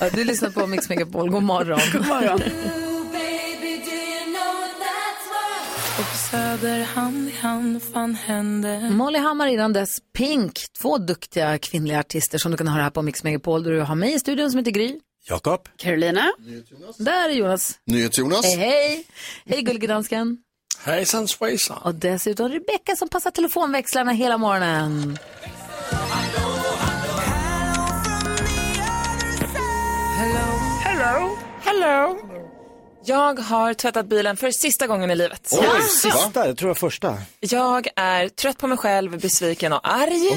Speaker 1: Ja, du lyssnar på Mix Megapol. God morgon.
Speaker 5: God morgon.
Speaker 13: Baby, do you know that's what- Och söder hand i hand, fan händer
Speaker 1: Molly Hammar innan dess Pink. Två duktiga kvinnliga artister som du kan höra här på Mix Megapol. Där du har mig i studion som heter Gry.
Speaker 7: Jakob.
Speaker 5: Carolina.
Speaker 1: Där är Jonas.
Speaker 3: NyhetsJonas.
Speaker 1: Hej, hej. Hej, gullige dansken.
Speaker 4: Hejsan svejsan.
Speaker 1: Och dessutom Rebecka som passar telefonväxlarna hela morgonen.
Speaker 15: Hello. Hello. Jag har tvättat bilen för sista gången i livet.
Speaker 7: Oj, sista, jag tror det var första.
Speaker 15: Jag är trött på mig själv, besviken och arg.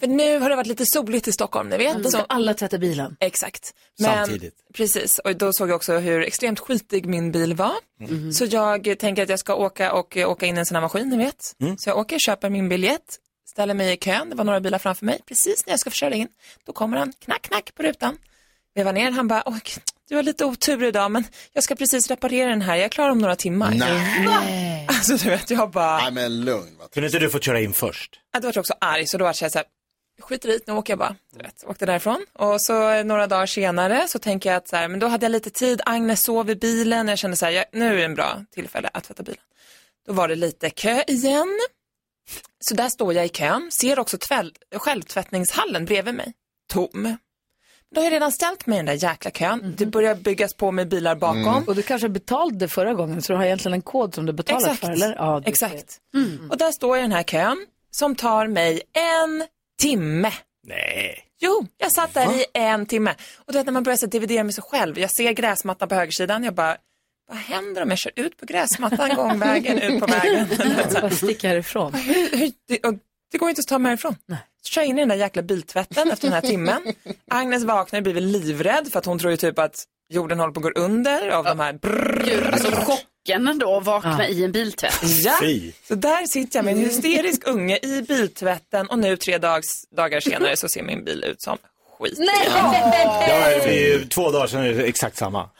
Speaker 15: För nu har det varit lite soligt i Stockholm, ni vet.
Speaker 1: Mm. Då ska alla tvätta bilen.
Speaker 15: Exakt. Precis, och då såg jag också hur extremt skitig min bil var.
Speaker 13: Mm.
Speaker 1: Mhm.
Speaker 15: Så jag tänker att jag ska åka och eh, åka in i en sån här maskin, ni vet.
Speaker 1: Mm.
Speaker 15: Så jag åker, köper min biljett, ställer mig i kön, det var några bilar framför mig. Precis när jag ska försöka in, då kommer han, knack, knack på rutan. Vevar ner, han bara, oj, du har lite otur idag, men jag ska precis reparera den här, jag är klar om några timmar.
Speaker 3: Nej.
Speaker 15: Alltså du vet, jag bara...
Speaker 3: Nej men lugn. Va?
Speaker 7: Kunde inte du få köra in först?
Speaker 15: Ja, Då var jag också arg, så då var jag så här, skiter i det, nu åker jag bara. Du vet, åkte därifrån. Och så eh, några dagar senare så tänker jag att så här, men då hade jag lite tid, Agnes sov i bilen, jag kände så här, jag, nu är det en bra tillfälle att tvätta bilen. Då var det lite kö igen. Så där står jag i kön, ser också tväll, självtvättningshallen bredvid mig, tom. Då har jag redan ställt mig i den där jäkla kön, det börjar byggas på med bilar bakom.
Speaker 1: Och du kanske betalade förra gången så du har egentligen en kod som du betalat
Speaker 15: Exakt.
Speaker 1: för eller? Ja, du
Speaker 15: Exakt.
Speaker 1: ser.
Speaker 15: Och där står jag i den här kön som tar mig en timme.
Speaker 7: Nej.
Speaker 15: Jo, jag satt där i en timme. Och du vet när man börjar så dividera med sig själv. Jag ser gräsmattan på högersidan. Jag bara, vad händer om jag kör ut på gräsmattan gångvägen ut på vägen?
Speaker 1: Bara sticka härifrån.
Speaker 15: Hur, hur, det, och, det går ju inte att ta mig härifrån. Så kör jag in i den där jäkla biltvätten efter den här timmen. Agnes vaknar och blir väl livrädd för att hon tror ju typ att jorden håller på att gå under av de här brrrr.
Speaker 5: Alltså chocken ändå att vakna
Speaker 15: Ja.
Speaker 5: i en biltvätt.
Speaker 15: Ja,
Speaker 5: Fy.
Speaker 15: så där sitter jag med en hysterisk unge i biltvätten och nu tre dags, dagar senare så ser min bil ut som skit.
Speaker 7: Ja, det blir ju två dagar sedan är det exakt samma.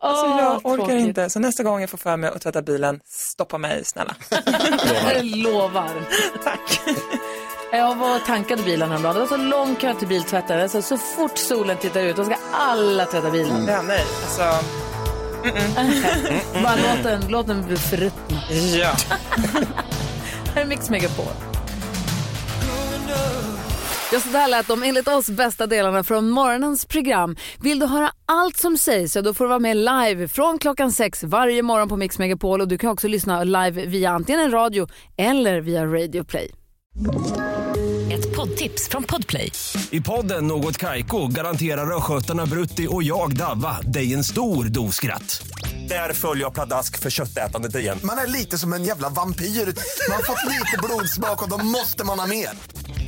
Speaker 15: Alltså jag
Speaker 1: Åh,
Speaker 15: orkar
Speaker 1: tråkigt.
Speaker 15: inte, så nästa gång jag får för mig att tvätta bilen, stoppa mig snälla.
Speaker 1: Jag lovar. Tack. Jag var och tankade bilen häromdagen. Det var så lång kö till biltvättaren. Alltså, så fort solen tittar ut, då ska alla tvätta bilen.
Speaker 15: Ja, nej, alltså.
Speaker 1: Bara låt den, låt den bli förruttna.
Speaker 15: Ja.
Speaker 1: Här är Mix Megapol. Ja, så där lät de enligt oss bästa delarna från morgonens program.
Speaker 16: Vill du höra allt som sägs så då får du vara med live från klockan sex varje morgon på Mix Megapol och du kan också lyssna live via antingen en radio eller via Radio Play.
Speaker 2: Ett poddtips från Podplay.
Speaker 17: I podden Något Kaiko garanterar östgötarna Brutti och jag, Davva, dig en stor dos skratt. Där följer jag pladask för köttätandet igen.
Speaker 14: Man är lite som en jävla vampyr. Man har fått lite blodsmak och då måste man ha mer.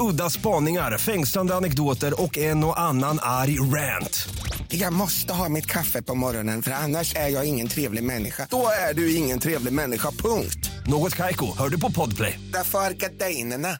Speaker 17: Udda spaningar, fängslande anekdoter och en och annan arg rant.
Speaker 14: Jag måste ha mitt kaffe på morgonen för annars är jag ingen trevlig människa. Då är du ingen trevlig människa, punkt.
Speaker 17: Något Kaiko, hör du på Podplay.
Speaker 14: Därför arkadeinerna.